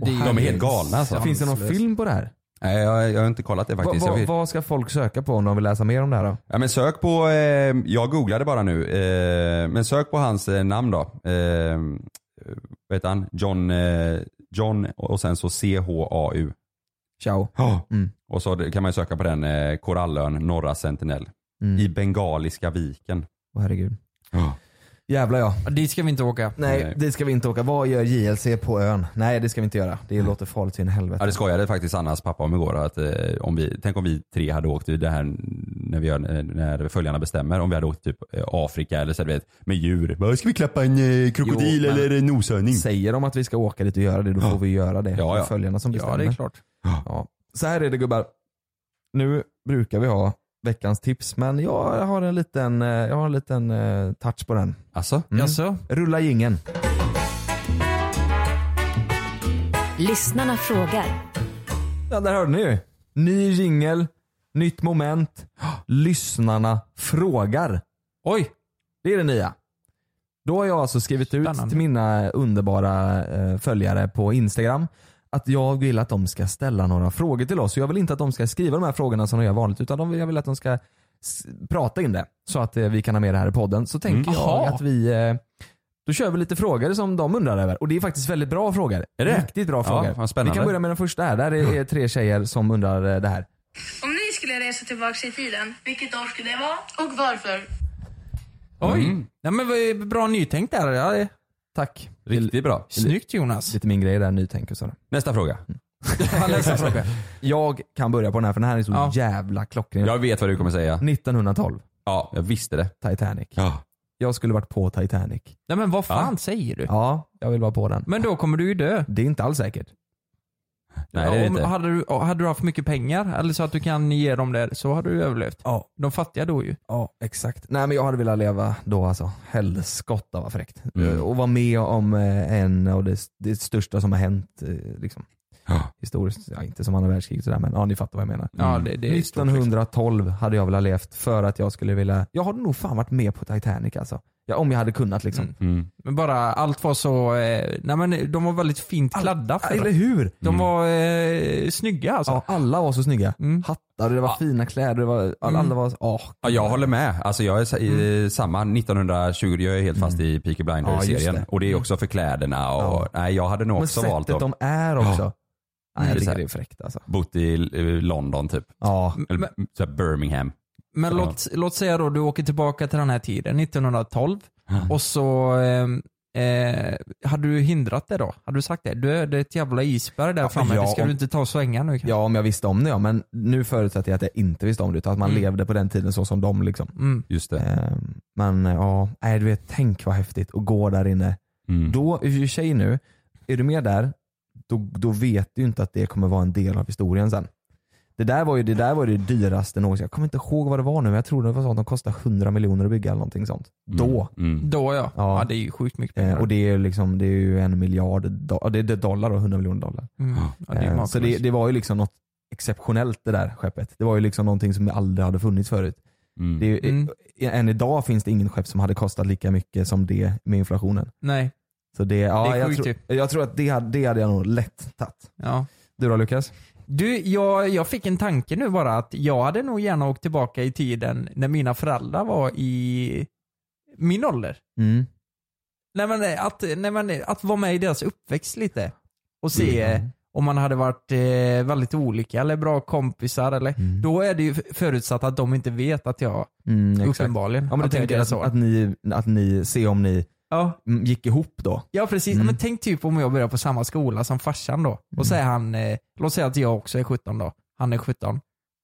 S5: Det
S4: De är helt galna alltså.
S3: Finns det någon film på det här?
S4: Nej, jag, jag har inte kollat det
S3: Va,
S4: faktiskt.
S3: va,
S4: jag vet.
S3: vad ska folk söka på om de vill läsa mer om det här då?
S4: Ja, men sök på, eh, jag googlade bara nu, eh, men sök på hans eh, namn då. Eh, vad heter han? John, eh, John och sen så C-H-A-U.
S3: Ciao. Mm.
S4: Och så kan man ju söka på den eh, korallön Norra Sentinel.
S3: Mm.
S4: I Bengaliska viken.
S3: Åh, herregud. Jävlar ja.
S5: Ja, Dit ska vi inte åka.
S3: Nej,
S4: Nej.
S3: det ska vi inte åka. Vad gör JLC på ön? Nej det ska vi inte göra. Det låter farligt in i helvete.
S4: Ja, det skojade faktiskt Annas pappa om igår. Att, eh, om vi, tänk om vi tre hade åkt i det här när, vi gör, eh, när följarna bestämmer. Om vi hade åkt typ eh, Afrika eller så du vet, med djur. Bara, Ska vi klappa en eh, krokodil
S3: Jo, men-
S4: eller en noshörning?
S3: Säger de att vi ska åka dit och göra det, då får vi göra det.
S4: Mm. Ja, ja.
S5: Mm.
S3: Det är Följarna som bestämmer.
S5: Ja, det är klart.
S3: Ja. Så här är det gubbar. Nu brukar vi ha veckans tips men jag har en liten, eh, jag har en liten eh, touch på den.
S4: Alltså?
S3: Mm.
S5: Jaså?
S3: Rulla gingen.
S6: Lyssnarna frågar.
S3: Ja, där hörde ni ju. Ny jingel, nytt moment. Lyssnarna frågar.
S5: Oj!
S3: Det är det nya. Då har jag alltså skrivit ut
S5: Spännande.
S3: till mina underbara eh, följare på Instagram att jag vill att de ska ställa några frågor till oss. Jag vill inte att de ska skriva de här frågorna som de gör vanligt utan de, jag vill att de ska s- prata in det så att eh, vi kan ha med det här i podden. Så tänker
S5: Mm.
S3: jag
S5: Aha.
S3: att vi eh, då kör vi lite frågor som de undrar över och det är faktiskt väldigt bra frågor.
S4: Är det?
S3: Riktigt bra
S4: Ja,
S3: frågor.
S4: vad spännande. Mm.
S3: Vi kan börja med den första här. Där är, är tre tjejer som undrar eh, det här.
S7: Om ni skulle resa tillbaka i tiden, vilket år skulle det vara? Och varför?
S5: Oj! Nej, men vad bra nytänkt där. Ja, det-
S3: Tack.
S4: Riktigt bra.
S5: Snyggt Jonas.
S3: Lite min grej där, nytänk och sådär.
S4: Nästa fråga.
S5: Ja, nästa fråga.
S3: Jag kan börja på den här för den här är så
S5: Ja.
S3: jävla klockren.
S4: Jag vet vad du kommer säga.
S3: Mm. 1912,
S4: Ja, jag visste det.
S3: Titanic.
S4: Ja.
S3: Jag skulle varit på Titanic.
S5: Nej men vad fan säger du?
S3: Ja, jag vill vara på den.
S5: Men då kommer du ju dö.
S3: Det är inte alls säkert.
S4: Nej, det är det
S5: Om-
S4: inte.
S5: Hade du, hade du haft mycket pengar, eller så att du kan ge dem det, så hade du överlevt.
S3: Ja.
S5: De fattiga då ju.
S3: Ja, exakt. Nej men jag hade velat leva då alltså. Helskotta vad fräckt.
S4: Mm.
S3: Eh, Och vara med om eh, en av det, det största som har hänt eh, liksom,
S4: Ja.
S3: historiskt. Ja, inte som andra världskriget sådär men ja, ni fattar vad jag menar.
S5: Ja,
S4: Mm.
S5: det, det är stort.
S3: 1912 hade jag velat levt för att jag skulle vilja, jag hade nog fan varit med på Titanic alltså. Ja, om jag hade kunnat liksom.
S4: Mm.
S5: Men bara allt var så, eh, nej men de var väldigt fint klädda
S3: Ja,
S5: för
S3: Eller hur?
S5: De var eh, snygga alltså.
S3: Ja, alla var så snygga.
S5: Mm.
S3: Hattar, det var fina kläder, det var, alla
S5: Mm.
S3: var, åh.
S4: Ja, jag håller med. Alltså jag är sa- i- samma. 1920, jag är helt fast i Peaky
S3: Mm. Ja,
S4: Blinders-serien.
S3: just det. Mm.
S4: och det är också för kläderna och
S3: Ja.
S4: nej, jag hade nog
S3: Men
S4: också valt
S3: sättet
S4: att
S3: de är också. Nej,
S4: Det är
S3: jag
S4: så här.
S3: tycker det är fräckt alltså.
S4: bott i eh, London typ.
S3: Ja.
S4: Eller
S5: Men-
S4: så här Birmingham.
S5: Men
S4: Ja.
S5: låt, låt säga då du åker tillbaka till den här tiden, 1912.
S3: Mm.
S5: Och så eh, eh, hade du hindrat det då? Hade du sagt det? Du, det är ett jävla isberg där
S3: Ja,
S5: framme,
S3: ja,
S5: det ska
S3: om-
S5: du inte ta och svänga nu kanske.
S3: ja, om jag visste om det ja. Men nu förutsätter jag att jag inte visste om det utan att man
S5: Mm.
S3: levde på den tiden så som de liksom.
S5: Mm.
S4: Just det.
S3: Ehm, Men ja, nej, du vet, tänk vad häftigt att gå där inne.
S4: Mm.
S3: Då, i och för sig nu, är du med där, då, då vet du ju inte att det kommer vara en del av historien sen. Det där var ju det, där var ju det dyraste någonsin. Jag kommer inte ihåg vad det var nu men jag tror det var sånt de kostade 100 miljoner att bygga eller någonting sånt. Då.
S4: Mm.
S5: Då ja.
S3: Ja.
S5: ja. det är ju sjukt mycket
S3: Eh,
S5: pengar.
S3: och det är, ju liksom, det är ju en miljard do- ja, det är det dollar då, 100 miljoner dollar.
S5: mm. ja, det är
S3: Eh,
S5: makalöst.
S3: så det, det var ju liksom något exceptionellt det där skeppet. Det var ju liksom någonting som aldrig hade funnits förut.
S4: Mm.
S3: Det är, ju-
S5: Mm.
S3: i- Än idag finns det ingen skepp som hade kostat lika mycket som det med inflationen.
S5: Nej.
S3: Så det, ja,
S5: Det är
S3: jag,
S5: sjukt
S3: tror- jag tror att det, hade- det hade jag nog lätt tagit.
S5: Ja.
S3: Du då Lukas?
S5: Du, jag, jag fick en tanke nu bara att jag hade nog gärna åkt tillbaka i tiden när mina föräldrar var i min ålder.
S3: Mm.
S5: Nej, men, eh, att, nej, men, eh, att vara med i deras uppväxt lite. Och se eh,
S3: Mm.
S5: om man hade varit eh, väldigt olika eller bra kompisar. Eller,
S3: Mm.
S5: Då är det ju förutsatt att de inte vet att jag
S3: Mm, exakt.
S5: uppenbarligen.
S3: Ja men du
S5: att jag är
S3: tänker
S5: deras
S3: att,
S5: son.
S3: att, ni, att ni ser om ni
S5: ja,
S3: mm, gick ihop då?
S5: ja precis.
S3: Mm.
S5: Men tänk typ om jag börjar på samma skola som farsan då. Och
S3: Mm.
S5: så är han, eh, låt säga att jag också är 17 då. Han är 17.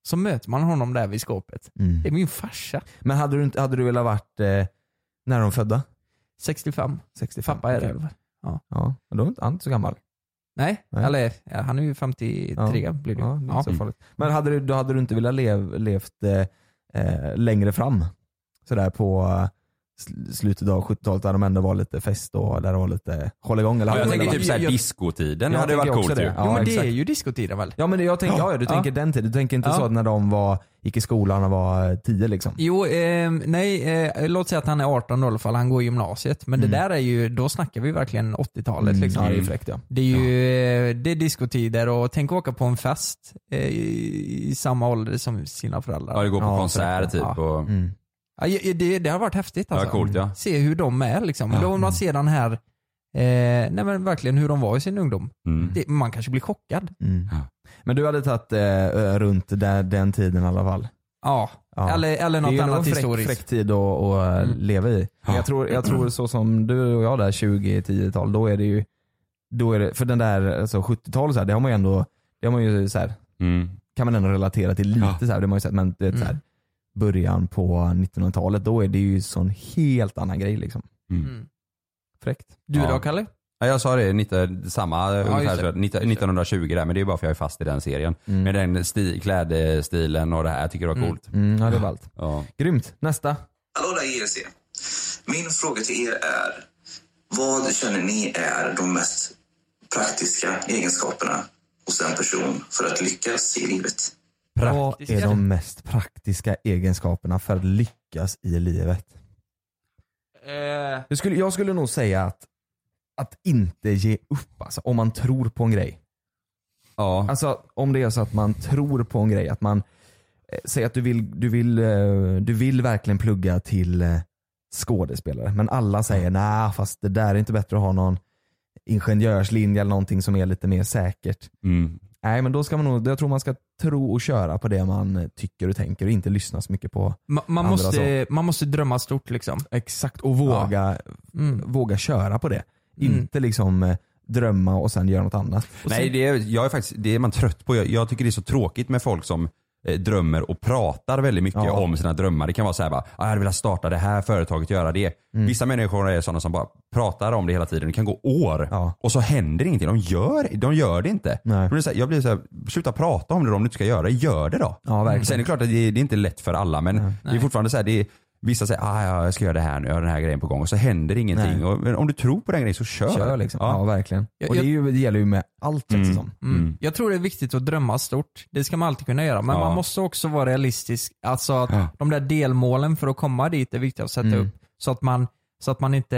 S5: Så möter man honom där vid skåpet.
S3: Mm.
S5: Det är min farsa.
S3: Men hade du, inte- hade du velat varit eh, när de födda?
S5: 65.
S3: 65?
S5: Pappa är
S3: Okej.
S5: det.
S3: Ja, men då är inte han inte så gammal.
S5: Nej,
S3: Nej.
S5: eller ja, han är ju 53 blir det.
S3: Ja, det är
S5: ju.
S3: inte
S5: Ja.
S3: så farligt. Men hade du, då hade du inte velat lev, levt eh, eh, längre fram? Sådär på eh, sl- slutet av 70-talet där de ändå var lite fest och där det var lite hålligång. Eller
S4: Ja, jag
S3: hade-
S4: tänker
S5: men-
S4: typ såhär
S5: jag-
S4: discotiden
S3: jag
S4: hade varit
S3: tänker också
S4: coolt
S3: det.
S4: ju.
S3: Ja,
S5: jo men
S3: exakt.
S5: det är ju diskotiden väl?
S3: Ja men jag tänker, ja, ja, du
S5: Ja.
S3: tänker den tiden. Du tänker inte
S5: Ja.
S3: så att när de var, gick i skolan och var eh, tio liksom.
S5: Jo, eh, nej, eh, låt säga att han är 18 då i alla fall, han går i gymnasiet. Men det där är ju, då snackar vi verkligen 80-talet liksom.
S3: Mm. Ja det är fräckt ja.
S5: Det är ju eh, det är diskotider och tänk åka på en fest eh, i, i samma ålder som sina föräldrar.
S4: Ja, det går på
S3: Ja,
S4: konsert typ.
S5: ja.
S4: Och,
S3: Mm.
S5: Ja, ju- det, det har varit häftigt
S4: ja,
S5: alltså.
S4: coolt ja.
S5: Se hur de är liksom.
S4: Ja.
S5: Då
S3: mm.
S5: man ser den här, eh, nej men verkligen hur de var i sin ungdom.
S4: Mm.
S5: Det, man kanske blir chockad.
S3: Mm.
S4: Ja.
S3: Men du hade tagit eh, runt där, den tiden i alla fall?
S5: Ja,
S3: Ja.
S5: Eller, eller något
S3: det är ju nog
S5: annat
S3: en fräck,
S5: historiskt.
S3: fräck tid att, att eh,
S5: Mm.
S3: leva i. Men Jag tror, jag tror så som du och jag där 20-10-tal, då är det ju, då är det, för den där alltså 70-talet, så här, det har man ju ändå, det har man ju så här,
S4: Mm.
S3: kan man ändå relatera till lite
S4: Ja.
S3: så här, det har man ju sett, men du vet, så
S5: Mm.
S3: här, början på 1900-talet, då är det ju sån helt annan grej liksom.
S4: Mm.
S5: Mm.
S3: Fräckt.
S5: Du
S4: Ja.
S5: då Kalle?
S4: Ja, jag sa det, 19, samma ungefär,
S5: just det.
S4: 19- 1920 där, men det är bara för att jag är fast i den serien.
S3: Mm.
S4: Med den sti, klädstilen och det här, jag tycker det var
S5: Mm.
S4: coolt.
S3: Mm, ja, det var allt.
S4: Ja.
S3: Grymt, nästa.
S8: Hallå där IRC. Min fråga till er är, vad känner ni är de mest praktiska egenskaperna hos en person för att lyckas i livet?
S3: Vad är de mest praktiska egenskaperna för att lyckas i livet?
S5: Eh,
S3: Jag skulle, jag skulle nog säga att, att inte ge upp alltså, om man tror på en grej.
S4: Ja.
S3: Alltså om det är så att man tror på en grej, att man eh, säger att du vill, du vill, eh, du vill verkligen plugga till eh, skådespelare men alla säger nej fast det där är inte bättre att ha någon ingenjörslinje eller någonting som är lite mer säkert.
S4: Mm.
S3: Nej men då ska man nog, jag tror man ska tro och köra på det man eh, tycker och tänker och inte lyssna så mycket på
S5: ma- man,
S3: Andra
S5: måste, man måste drömma stort liksom.
S3: Exakt och våga,
S5: Mm.
S3: våga köra på det.
S5: Mm.
S3: Inte liksom eh, drömma och sen göra något annat.
S4: Nej, det är, jag är faktiskt, det är man trött på. Jag, jag tycker det är så tråkigt med folk som eh, drömmer och pratar väldigt mycket
S3: Ja.
S4: om sina drömmar. Det kan vara så här bara, "Ah, jag hade velat starta det här företaget, göra det.
S3: Mm.
S4: Vissa människor är sådana som bara pratar om det hela tiden. Det kan gå år
S3: Ja.
S4: och så händer ingenting. De gör, de gör det inte.
S3: Nej.
S4: Men det är så här, jag blir så här, sluta prata om det då, om du inte ska göra det. Gör det då.
S3: Ja, verkligen.
S4: Sen är det klart att det, det är inte lätt för alla men det är fortfarande så här, det är, Vissa säger ah, ja, jag ska göra det här nu, jag har den här grejen på gång och så händer ingenting.
S3: Nej.
S4: Och, men om du tror på den grejen så kör.
S3: Kör liksom. Ja,
S4: Ja. Mm.
S3: verkligen.
S5: Jag-
S3: Och det, är ju, det gäller ju med allt liksom. känns det som.
S5: Mm. Jag tror det är viktigt att drömma stort. Det ska man alltid kunna göra. Men
S4: Ja.
S5: man måste också vara realistisk. Alltså att
S4: Ja.
S5: de där delmålen för att komma dit är viktiga att sätta
S3: Mm.
S5: upp. Så att man, så att man inte,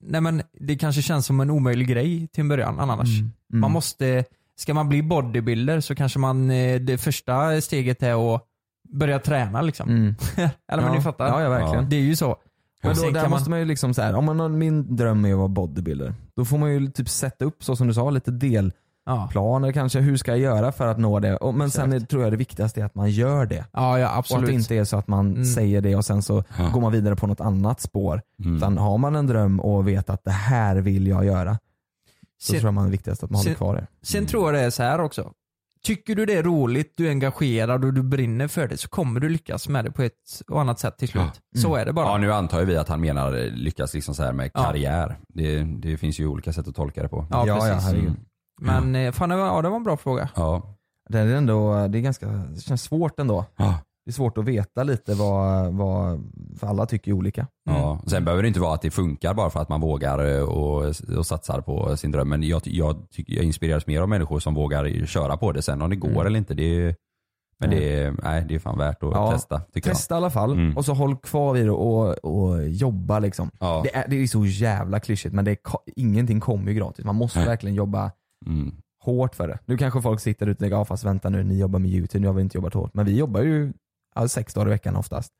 S5: nej men det kanske känns som en omöjlig grej till en början annars.
S3: Mm.
S5: Man måste, ska man bli bodybuilder så kanske man, eh, det första steget är att börja träna liksom.
S3: Mm.
S5: Eller men
S3: Ja.
S5: ni fattar.
S3: Ja, ja, verkligen.
S5: Det är ju så.
S3: Men
S5: Och
S3: då,
S5: sen
S3: där
S5: kan
S3: måste man ju liksom så här, om man har, min dröm är att vara bodybuilder. Då får man ju typ sätta upp, så som du sa, lite delplaner
S5: ja.
S3: kanske. Hur ska jag göra för att nå det? Och, men sen är, tror jag det viktigaste är att man gör det.
S5: Ja, ja
S3: Och att
S5: absolut.
S3: det inte är så att man
S5: Mm.
S3: säger det och sen så går man vidare på något annat spår.
S4: Mm.
S3: Utan har man en dröm och vet att det här vill jag göra, så
S5: Sen-
S3: tror jag man är viktigast att man håller
S5: sen-
S3: kvar det.
S5: Sen tror jag det är så här också. Tycker du det är roligt, du är engagerad och du brinner för det så kommer du lyckas med det på ett och annat sätt till slut. Så är det bara.
S4: Ja nu antar ju vi att han menar eh, lyckas liksom så här med
S5: Ja.
S4: karriär. Det, det finns ju olika sätt att tolka det på.
S5: Ja,
S3: ja,
S5: precis.
S3: herregud.
S4: Mm.
S5: Men eh, fan, det var, ja, det var en bra fråga.
S4: Ja.
S3: Det är ändå, det är ganska, det känns svårt ändå.
S4: Ja.
S3: Det är svårt att veta lite vad, vad för alla tycker ju olika.
S4: Ja. Sen behöver det inte vara att det funkar bara för att man vågar eh, och, och satsar på sin dröm. Men jag, ty- jag, tycker- jag inspireras mer av människor som vågar köra på det. Sen om det går eller inte, det är, men det är, nej, det är fan värt att
S3: Ja.
S4: testa tycker
S3: Testa i alla fall
S4: Mm.
S3: och så håll kvar vid det och, och jobba liksom.
S4: jag. Ja.
S3: Det, är, det är så jävla klyschigt men det är, ko- ingenting kommer ju gratis. Man måste verkligen jobba
S4: Mm.
S3: hårt för det. Nu kanske folk sitter ute och tänker, ja fast vänta nu, ni jobbar med YouTube, nu har vi inte jobbat hårt. Men vi jobbar ju ja, sex dagar i veckan oftast.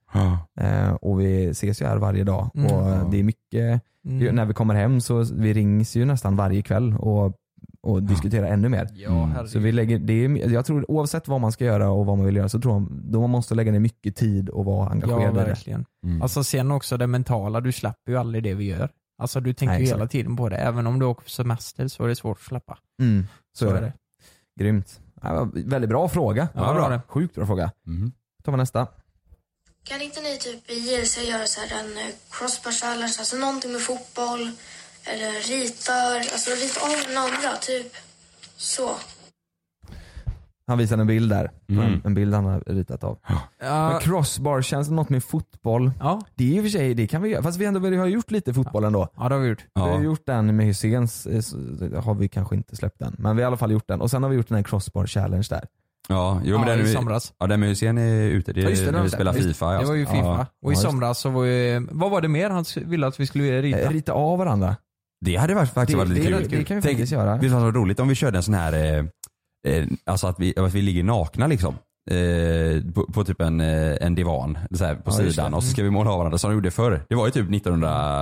S3: Eh, och vi ses ju här varje dag.
S5: Mm.
S3: Och eh, det är mycket,
S5: Mm.
S3: ju- när vi kommer hem så vi rings ju nästan varje kväll och, och diskuterar ännu mer. Mm.
S5: Ja, herregud.
S3: Så vi lägger, det är, jag tror oavsett vad man ska göra och vad man vill göra så tror jag då man måste lägga ner mycket tid och vara
S5: ja,
S3: engagerad i det.
S5: verkligen. Alltså sen också det mentala, du släpper ju aldrig det vi gör. Alltså du tänker
S3: Nej,
S5: ju
S3: exakt.
S5: hela tiden på det. Även om du åker på semester så är det svårt att släppa.
S3: Mm, så, är det. Grymt. Ja, vad- väldigt bra fråga.
S5: Ja, det var det.
S3: Sjukt bra fråga.
S4: Mm.
S3: Då tar vi nästa.
S7: Kan inte ni typ i JLC göra så här en eh, crossbar challenge, alltså någonting med fotboll eller ritar, alltså rita av den andra, typ så.
S3: Han visade en bild där.
S4: Mm.
S3: En, en bild han har ritat av. Men
S5: Ja,
S3: crossbar känns något med fotboll.
S5: ja.
S3: Det är i och för sig, det kan vi göra. Fast vi, ändå, vi har gjort lite fotboll ändå.
S5: ja det har vi gjort.
S3: Vi har
S4: Ja.
S3: gjort den med Hyséns, eh, så- så har vi kanske inte släppt den. Men vi har i alla fall gjort den. Och sen har vi gjort den här crossbar challenge där.
S4: ja, jo men
S5: ja, i
S4: den,
S5: somras.
S4: ja, den museen är ute. Det,
S3: Ja, just det,
S4: när
S3: den-
S4: vi spelar
S3: just-
S4: Fifa.
S5: Det
S4: ja.
S5: var ju Fifa.
S4: Ja.
S5: Och i
S3: Ja, just-
S5: somras så var ju, vad var det mer han ville att vi skulle rita?
S3: Eh, Rita av varandra.
S4: Det hade varit- faktiskt
S3: Det,
S4: varit lite
S3: det,
S4: kul.
S3: det, kan vi
S4: Tänk-
S3: faktiskt göra.
S4: Vet du vad som var roligt? Om vi körde en sån här, eh, eh, alltså att vi, att vi ligger nakna liksom. Eh, på, på typ en, eh, en divan så här, på
S3: Ja, just
S4: sidan
S3: det.
S4: och så ska vi måla av varandra som de gjorde förr. Det var ju typ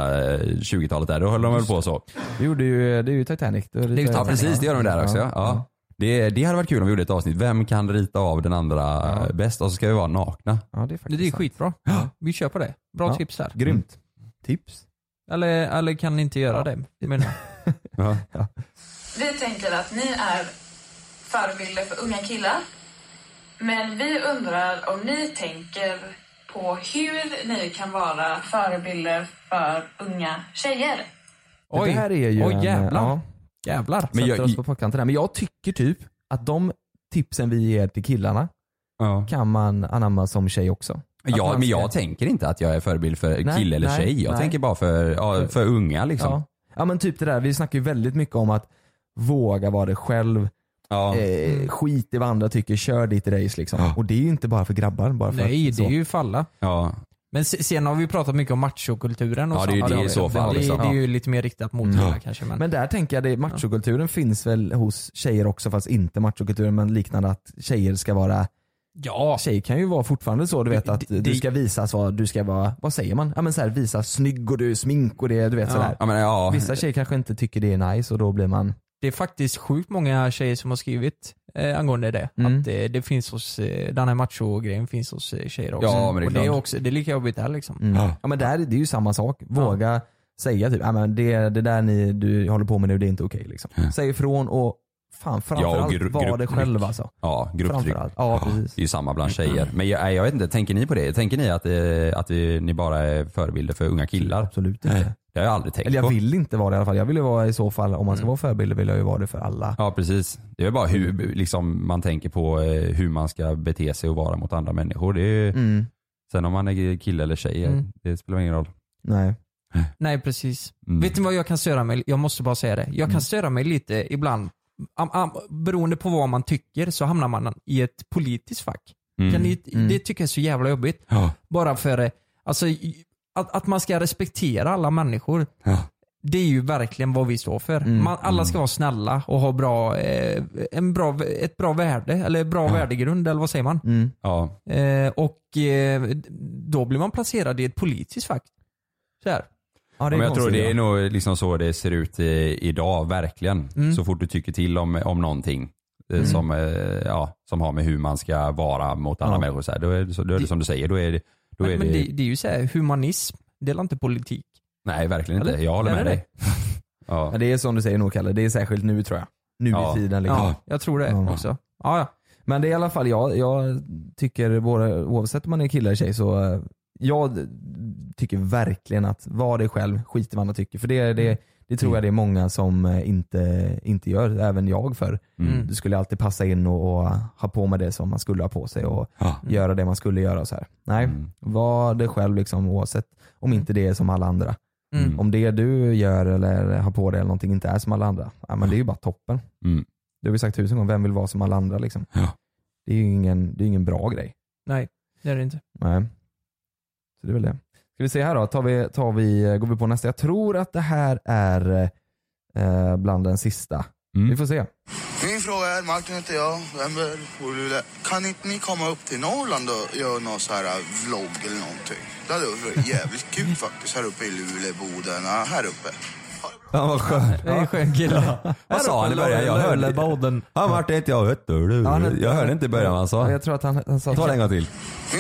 S4: 1920-talet där, då höll de väl på så.
S3: Vi gjorde ju, det är ju Titanic. Det är
S5: ju
S4: Ja precis, det gör de där också. Ja. Ja. Det, det hade varit kul om vi gjorde ett avsnitt. Vem kan rita av den andra eh, bäst? Och så ska vi vara nakna.
S3: ja, det är
S5: Det
S3: faktiskt
S5: är ju
S3: sant.
S5: skitbra. Vi kör på det. Bra
S3: Ja.
S5: tips där.
S3: Grymt.
S4: Mm.
S3: Tips.
S5: Eller, eller kan ni inte göra det? Men,
S4: Ja.
S9: Vi tänker att ni är förebilder för unga killar. Men vi undrar om ni tänker på hur ni kan vara förebilder för unga tjejer.
S3: Det
S5: Oj,
S3: där är ju
S5: oj
S3: en-
S5: jävlar.
S3: ja.
S5: Jävlar.
S4: Men
S3: Men
S4: jag-
S3: jag, oss på pottkanten där. Men jag tycker typ att de tipsen vi ger till killarna
S4: Ja.
S3: kan man anamma som tjej också. Att
S4: Ja,
S3: man
S4: men
S3: ska-
S4: jag tänker inte att jag är förebild för
S3: Nej,
S4: kille eller
S3: nej,
S4: tjej. Jag
S3: nej.
S4: tänker bara för, ja, för unga liksom.
S3: Ja. ja men typ det där, vi snackar ju väldigt mycket om att våga vara dig själv,
S4: Ja.
S5: Mm.
S3: eh, skit i vad andra tycker, kör ditt race liksom.
S4: Ja.
S3: Och det är ju inte bara för grabbar. Bara för
S5: Nej,
S3: att,
S5: det är ju falla.
S4: Ja.
S5: Men se- sen har vi pratat mycket om machokulturen och
S4: Ja, det är
S5: sånt.
S4: ju det
S5: har
S4: i
S5: vi.
S4: så fall,
S5: Det,
S4: liksom. Mm.
S5: det är ju lite mer riktat mot killar kanske. Men,
S3: Men där tänker jag, det, machokulturen finns väl hos tjejer också fast inte machokulturen men liknande att tjejer ska vara,
S5: ja,
S3: tjejer kan ju vara fortfarande så du vet att
S5: Det-
S3: du ska visas vad, du ska vara, vad säger man? Ja men så här, visa snygg och du är smink och det, du vet
S5: Ja.
S3: sådär.
S4: Ja, men, ja.
S3: Vissa tjejer kanske inte tycker det är nice och då blir man
S5: det är faktiskt sjukt många tjejer som har skrivit eh, angående det.
S3: Mm.
S5: Att eh, det finns hos, eh, den här macho-grejen finns hos eh, tjejer också.
S4: Ja, men det är
S5: och det är,
S4: klart. Mm.
S5: också, det är lika jobbigt där liksom.
S4: Ja.
S3: Ja men där, det är ju samma sak. Våga säga typ, "Ja, men det, det där ni du håller på med nu det är inte okej. liksom.
S4: Ja.
S3: Säg ifrån och fan
S4: Ja, och
S3: framförallt
S4: gru-
S3: var
S4: grupptryck.
S3: det själv alltså.
S4: Ja, grupptryck.
S3: Framförallt. Ja, precis. Mm.
S4: Det är ju samma bland tjejer. Men jag, nej, jag vet inte, tänker ni på det? Tänker ni att, eh, att vi, ni bara är förebilder för unga killar?
S3: Absolut inte.
S4: Det har jag aldrig tänkt
S3: Eller jag
S4: på.
S3: vill inte vara det i alla fall. Jag vill ju vara i så fall, om man ska vara förebild vill jag ju vara det för alla.
S4: Mm. Ja precis. Det är väl bara hur liksom, man tänker på eh, hur man ska bete sig och vara mot andra människor. Det är, ju-
S3: Mm.
S4: Sen om man är kille eller tjej, eh,
S3: Mm.
S4: det spelar ingen roll.
S3: Nej.
S5: Nej precis.
S4: Mm.
S5: Vet ni vad jag kan störa mig? Jag måste bara säga det. Jag kan störa mig lite ibland. Am, am, beroende på vad man tycker så hamnar man i ett politiskt fack.
S4: Mm.
S5: Kan ni,
S3: Mm.
S5: Det tycker jag är så jävla jobbigt.
S4: Ja.
S5: Bara för eh, alltså, i- att, att man ska respektera alla människor.
S4: Ja.
S5: Det är ju verkligen vad vi står för.
S3: Mm.
S5: Man, alla ska vara snälla och ha bra, eh, en bra, ett bra värde, eller bra värdegrund eller vad säger man?
S3: Mm.
S4: Ja.
S5: Eh, och eh, då blir man placerad i ett politiskt fack. Så här.
S3: Ja, det är
S4: Men jag tror
S3: konstigt,
S4: det
S3: ja.
S4: är nog liksom så det ser ut i, idag, verkligen. Så fort du tycker till om, om någonting eh, som, eh, ja, som har med hur man ska vara mot andra
S3: Ja.
S4: människor, så här, då, är det, så, då är det
S5: Det-
S4: som du säger, då är det, då
S5: Men,
S4: är
S5: men
S4: det,
S5: det, det är ju så här, humanism, det är inte politik.
S4: nej verkligen inte.
S5: Eller?
S4: Jag håller
S5: Är
S4: med
S5: det
S4: dig. ja.
S3: Ja, det är som du säger nog Kalle, det är särskilt nu tror jag. Nu
S4: Ja.
S3: i tiden liksom.
S5: Ja, jag tror det
S3: Ja.
S5: också. Ja, ja.
S3: Men det är i alla fall, jag, jag tycker, våra, oavsett om man är kille eller tjej, så eh, jag tycker verkligen att var dig själv, skit i vad andra tycker. För det,
S4: Mm.
S3: det, det tror jag det är många som eh, inte, inte gör, även jag för.
S4: Mm.
S3: Du skulle alltid passa in och, och ha på med det som man skulle ha på sig och
S4: Ja.
S3: göra det man skulle göra. och Så här. Nej,
S4: Mm.
S3: var dig själv liksom, oavsett om inte det är som alla andra.
S5: Mm.
S3: Om det du gör eller har på dig eller någonting inte är som alla andra, ja, men det är ju bara toppen.
S4: Mm.
S3: Det har vi sagt tusen gånger, vem vill vara som alla andra liksom?
S4: Ja.
S3: Det är ju ingen, det är ingen bra grej.
S5: Nej, det är det inte.
S3: Nej. Så det är väl det. Ska vi se här då, tar vi, tar vi, går vi på nästa? Jag tror att det här är eh, bland den sista.
S4: Mm.
S3: Vi får se.
S10: Min fråga är, Martin heter jag, vem är bor i Luleå? Kan inte ni komma upp till Norrland och göra någon så här eh, vlogg eller någonting? Det hade varit jävligt kul faktiskt här uppe i Luleå, Boden, ja, här uppe.
S4: Ja, vad skönt.
S5: Det är en skön kille.
S4: Vad sa han i början? Jag hörde
S5: Boden.
S4: Ja Martin inte jag, vet du. du.
S3: Ja, han heter-
S4: Jag hörde inte i början vad han
S3: Ja,
S4: sa.
S3: jag tror att han, han sa
S4: Ta det en gång till.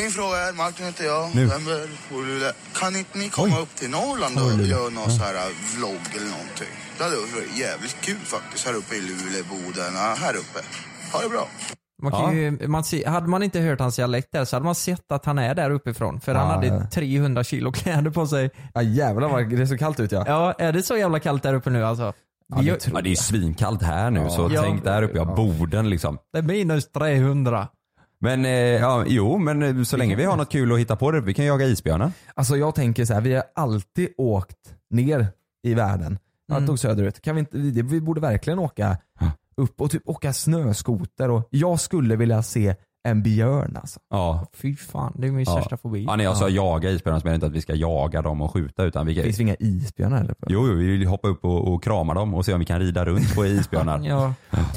S10: Min fråga är, Martin heter jag,
S4: Nu.
S10: vem är bor i Luleå? Kan inte ni komma upp till Norrland och göra någon så här eh, vlogg eller någonting? Det hade varit jävligt kul faktiskt här uppe i Luleå, Boden, ja, här uppe. Ha det bra.
S5: Man kan ju, man se, hade man inte hört hans dialekt där så hade man sett att han är där uppifrån. För han
S3: Ja,
S5: hade
S3: ja.
S5: 300 kilo kläder på sig.
S3: Ja jävlar vad det är så kallt ut ja.
S5: Ja, är det så jävla kallt där uppe nu alltså? Vi gör-
S4: Ja, det är ju svinkallt här nu så
S5: Ja.
S4: tänk där uppe, ja, Boden liksom.
S5: det är minus 300.
S4: Men eh, ja, jo, men eh, så länge vi har något kul att hitta på det, vi kan jaga isbjörnar.
S3: Alltså jag tänker så här, vi har alltid åkt ner i världen. Jag tog söderut. Kan vi, inte, vi, vi borde verkligen åka upp och typ åka snöskoter. Och jag skulle vilja se en björn alltså.
S4: Ja.
S5: Fy fan, det är min
S4: Ja.
S5: största fobi.
S4: ja, när jag sa jaga isbjörnar så menar jag inte att vi ska jaga dem och skjuta utan vi kan,
S3: Finns det inga isbjörnar heller?
S4: jo, jo, vi vill hoppa upp och, och krama dem och se om vi kan rida runt på isbjörnar.
S5: Ja.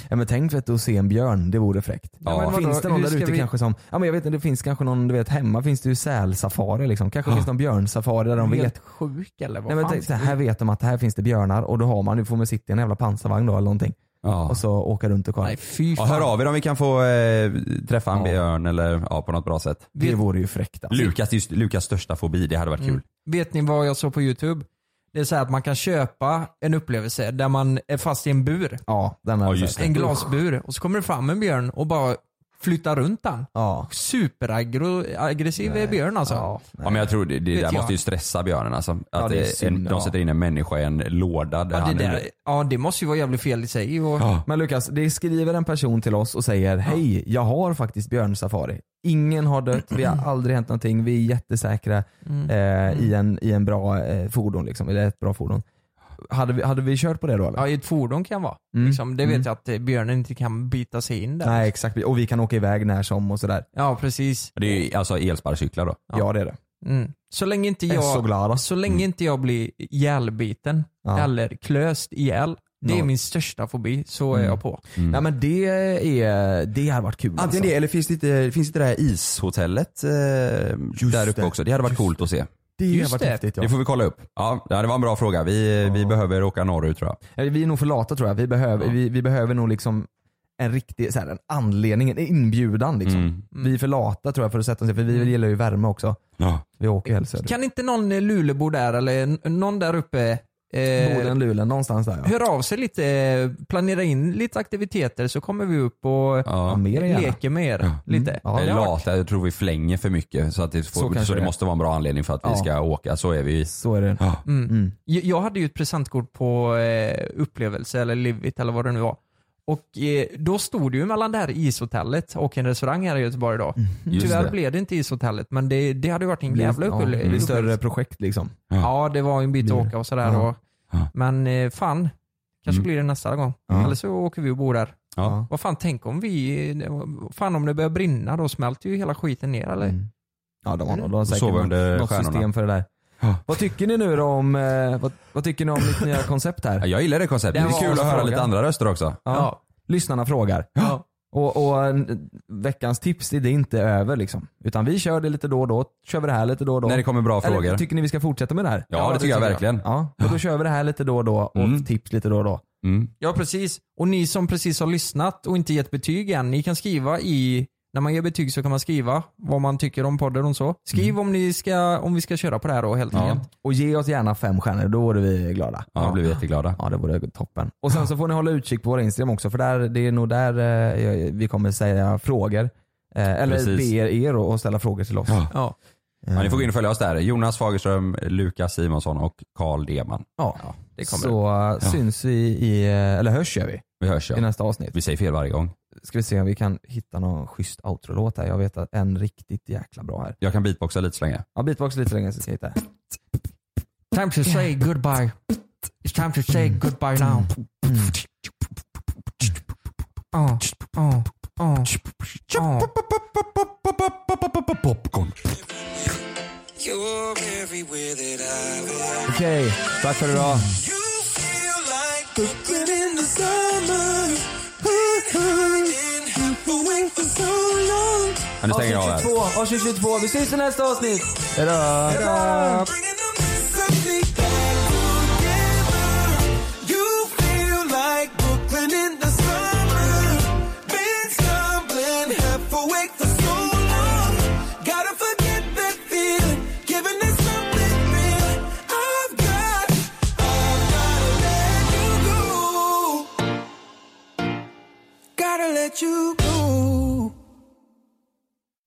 S3: Ja, men tänk vet du, att se en björn, det vore fräckt.
S4: Ja, men
S5: vadå?
S3: Finns det någon
S5: Hur
S3: där
S5: ska
S3: ute
S5: vi-
S3: kanske som, ja men jag vet inte, det finns kanske någon, du vet hemma finns det ju sälsafari liksom. Kanske finns det någon björnsafari där de vet.
S5: Helt sjuk eller vad
S3: Nej, men
S5: fan?
S3: tänk, så här vet de att här finns det björnar och då har man, nu får man sitta i en jävla pansarvagn då eller någonting.
S4: Ja.
S3: Och så åka runt och kolla.
S5: Nej fy
S4: Ja,
S5: fan.
S4: hör av er om vi kan få eh, träffa en
S3: Ja.
S4: björn eller ja, på något bra sätt.
S3: det vore ju fräckt alltså.
S4: Lukas, just, Lukas största fobi, det hade varit kul.
S5: Vet ni vad jag såg på youtube? Det är så här att man kan köpa en upplevelse där man är fast i en bur.
S3: Ja, den här
S4: Ja, just det.
S5: En glasbur. Och så kommer det fram en björn och bara flytta runt han.
S3: Ja.
S5: Superaggressiv är björn alltså.
S4: Ja, men jag tror det, det
S5: Vet
S4: där
S5: jag.
S4: måste ju stressa björnen alltså. Att
S3: Ja, det är
S4: det
S3: synd,
S4: en,
S3: ja.
S4: de sätter in en människa i en låda där
S5: Ja, det,
S4: han
S5: där, ja, det måste ju vara jävligt fel i sig. Och,
S4: Ja.
S3: Men Lukas, det skriver en person till oss och säger Hej, jag har faktiskt björnsafari. Ingen har dött, vi har aldrig hänt någonting, vi är jättesäkra eh, i, en, i en bra eh, fordon, liksom, eller ett bra fordon. Hade vi, hade vi kört på det då eller?
S5: ja, i ett fordon kan vara.
S3: Mm.
S5: Liksom, det vet
S3: Mm.
S5: jag att eh, björnen inte kan bita sig in där.
S3: Nej exakt, och vi kan åka iväg när som och sådär.
S5: Ja, previs.
S4: Det är ju alltså elsparkcyklar då.
S3: Ja, det är det.
S5: Mm. Så länge inte
S3: Jag är
S5: jag,
S3: så glad. alltså. då.
S5: så länge inte jag blir ihjälbiten
S3: Ja.
S5: eller klöst ihjäl. Det är
S3: Ja.
S5: min största fobi, så är
S3: Mm.
S5: jag på.
S3: Nej men det är, det hade varit kul alltså.
S4: Antingen det eller finns det inte, finns inte det här ishotellet eh, där uppe
S3: det.
S4: också? Det hade varit coolt att se.
S3: det. Det hade
S5: Just
S3: varit
S5: det.
S3: häftigt ja.
S4: Det får vi kolla upp. Ja, det var en bra fråga. Vi, vi behöver åka norrut tror jag.
S3: Eh, Vi är nog för lata tror jag. Vi behöver, vi, vi behöver nog liksom en riktig så här, en anledning, en inbjudan liksom.
S4: Mm.
S3: Vi är för lata tror jag för att sätta oss ner, för vi gillar ju värme också.
S4: Ja.
S3: Vi åker ju helst söderut.
S5: Kan inte någon eh, Lulebo där eller n- någon där uppe eh,
S3: Boden, Luleå, någonstans där ja.
S5: hör av sig lite, eh, planera in lite aktiviteter så kommer vi upp och
S3: ja
S4: Ja.
S3: mer än gärna.
S5: leker med er lite.
S3: Ja,
S4: Eller
S3: det har
S4: lata, jag tror vi flänger för mycket. Så, att det,
S3: Så
S4: får, så,
S3: kanske
S4: det
S3: det är.
S4: måste vara en bra anledning för att
S3: Ja.
S4: vi ska åka. Så är vi.
S3: Så är det.
S4: Ja.
S5: Mm.
S3: Mm.
S5: Jag jag hade ju ett presentkort på eh, upplevelse eller Livit eller vad det nu var. Och eh, då stod det ju mellan det här ishotellet och en restaurang här i Göteborg då.
S3: Mm,
S4: Just
S5: Tyvärr
S4: det.
S5: blev det inte ishotellet men det, det hade ju varit en
S3: Blir-
S5: jävla
S3: ja,
S5: upple-
S4: Mm.
S3: det blir
S5: upplevelse.
S3: större projekt liksom.
S5: Ja det var ju en bit att åka och sådär.
S3: Ja. Mm.
S5: Och,
S4: Ja.
S5: men eh, fan, kanske blir det nästa gång.
S3: Ja.
S5: Eller så åker vi och bor där.
S4: Ja.
S5: Vad fan, tänk om vi... eh, Fan om det börjar brinna då smälter ju hela skiten ner eller?
S3: Mm. Ja de har, nog- de har säkert
S4: Sova under
S3: något, något
S4: stjärnorna.
S3: system för det där.
S4: Ja.
S3: Vad tycker ni nu då om, eh, vad, vad tycker ni om mitt nya koncept
S4: Ja,
S3: här?
S4: Jag gillar det konceptet.
S5: Det
S4: Det är
S5: var
S4: kul att
S5: en
S4: höra
S5: fråga.
S4: lite andra röster också.
S3: Ja. Lyssnarna frågar.
S5: Ja.
S3: Och, och en- veckans tips det är inte över liksom. Utan vi kör det lite då och då, kör vi det här lite då och då.
S4: När det kommer bra
S3: Eller,
S4: frågor.
S3: Tycker ni vi ska fortsätta med det här?
S4: Ja, det tycker jag verkligen.
S3: Ja, och då kör vi det här lite då och då och
S4: Mm.
S3: tips lite då och då.
S4: Mm.
S5: Ja precis. Och ni som precis har lyssnat och inte gett betyg än, ni kan skriva i när man ger betyg så kan man skriva vad man tycker om podden och så. Skriv om, ni ska, om vi ska köra på det här då helt
S4: Ja.
S5: enkelt.
S3: Och ge oss gärna fem stjärnor, då vore vi glada.
S4: Ja, då blir vi jätteglada.
S3: Ja det vore toppen. Och sen så får ni hålla utkik på våra Instagram också för där, det är nog där eh, vi kommer säga frågor. Eh, eller
S4: Precis.
S3: be er, er och, och ställa frågor till oss.
S4: Ja.
S5: Ja.
S4: Ja, ni får gå in och följa oss där. Jonas Fagerström, Lukas Simonsson och Karl Deman.
S3: Ja,
S5: det kommer.
S3: Så eh, syns vi i, eh, eller hörs gör vi
S4: Vi hörs
S3: i
S4: ja.
S3: nästa avsnitt.
S4: Vi säger fel varje gång.
S3: Ska vi se om vi kan hitta någon schysst outro-låt här. Jag vet att en riktigt jäkla bra här.
S4: Jag kan beatboxa lite så länge.
S3: Ja, beatbox lite längre så ska jag hitta.
S5: Time to say goodbye. It's time to say goodbye now. Oh, oh, oh, oh.
S3: Okej, tack för idag.
S4: Ja, nu stänger jag av här.
S3: avsnitt 22. Vi ses i nästa avsnitt. Hejdå. Hejdå.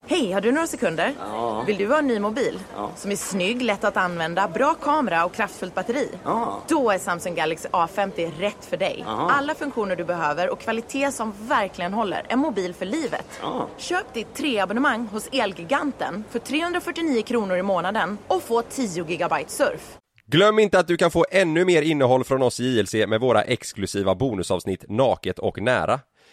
S2: Hej, har du några sekunder? Vill du ha en ny mobil? Som är snygg, lätt att använda, bra kamera och kraftfullt batteri? Då är Samsung Galaxy A50 rätt för dig. Alla funktioner du behöver och kvalitet som verkligen håller. En mobil för livet. Köp ditt treabonnemang hos Elgiganten för 349 kronor i månaden och få 10 gigabyte surf.
S11: Glöm inte att du kan få ännu mer innehåll från oss i JLC med våra exklusiva bonusavsnitt Naket och nära.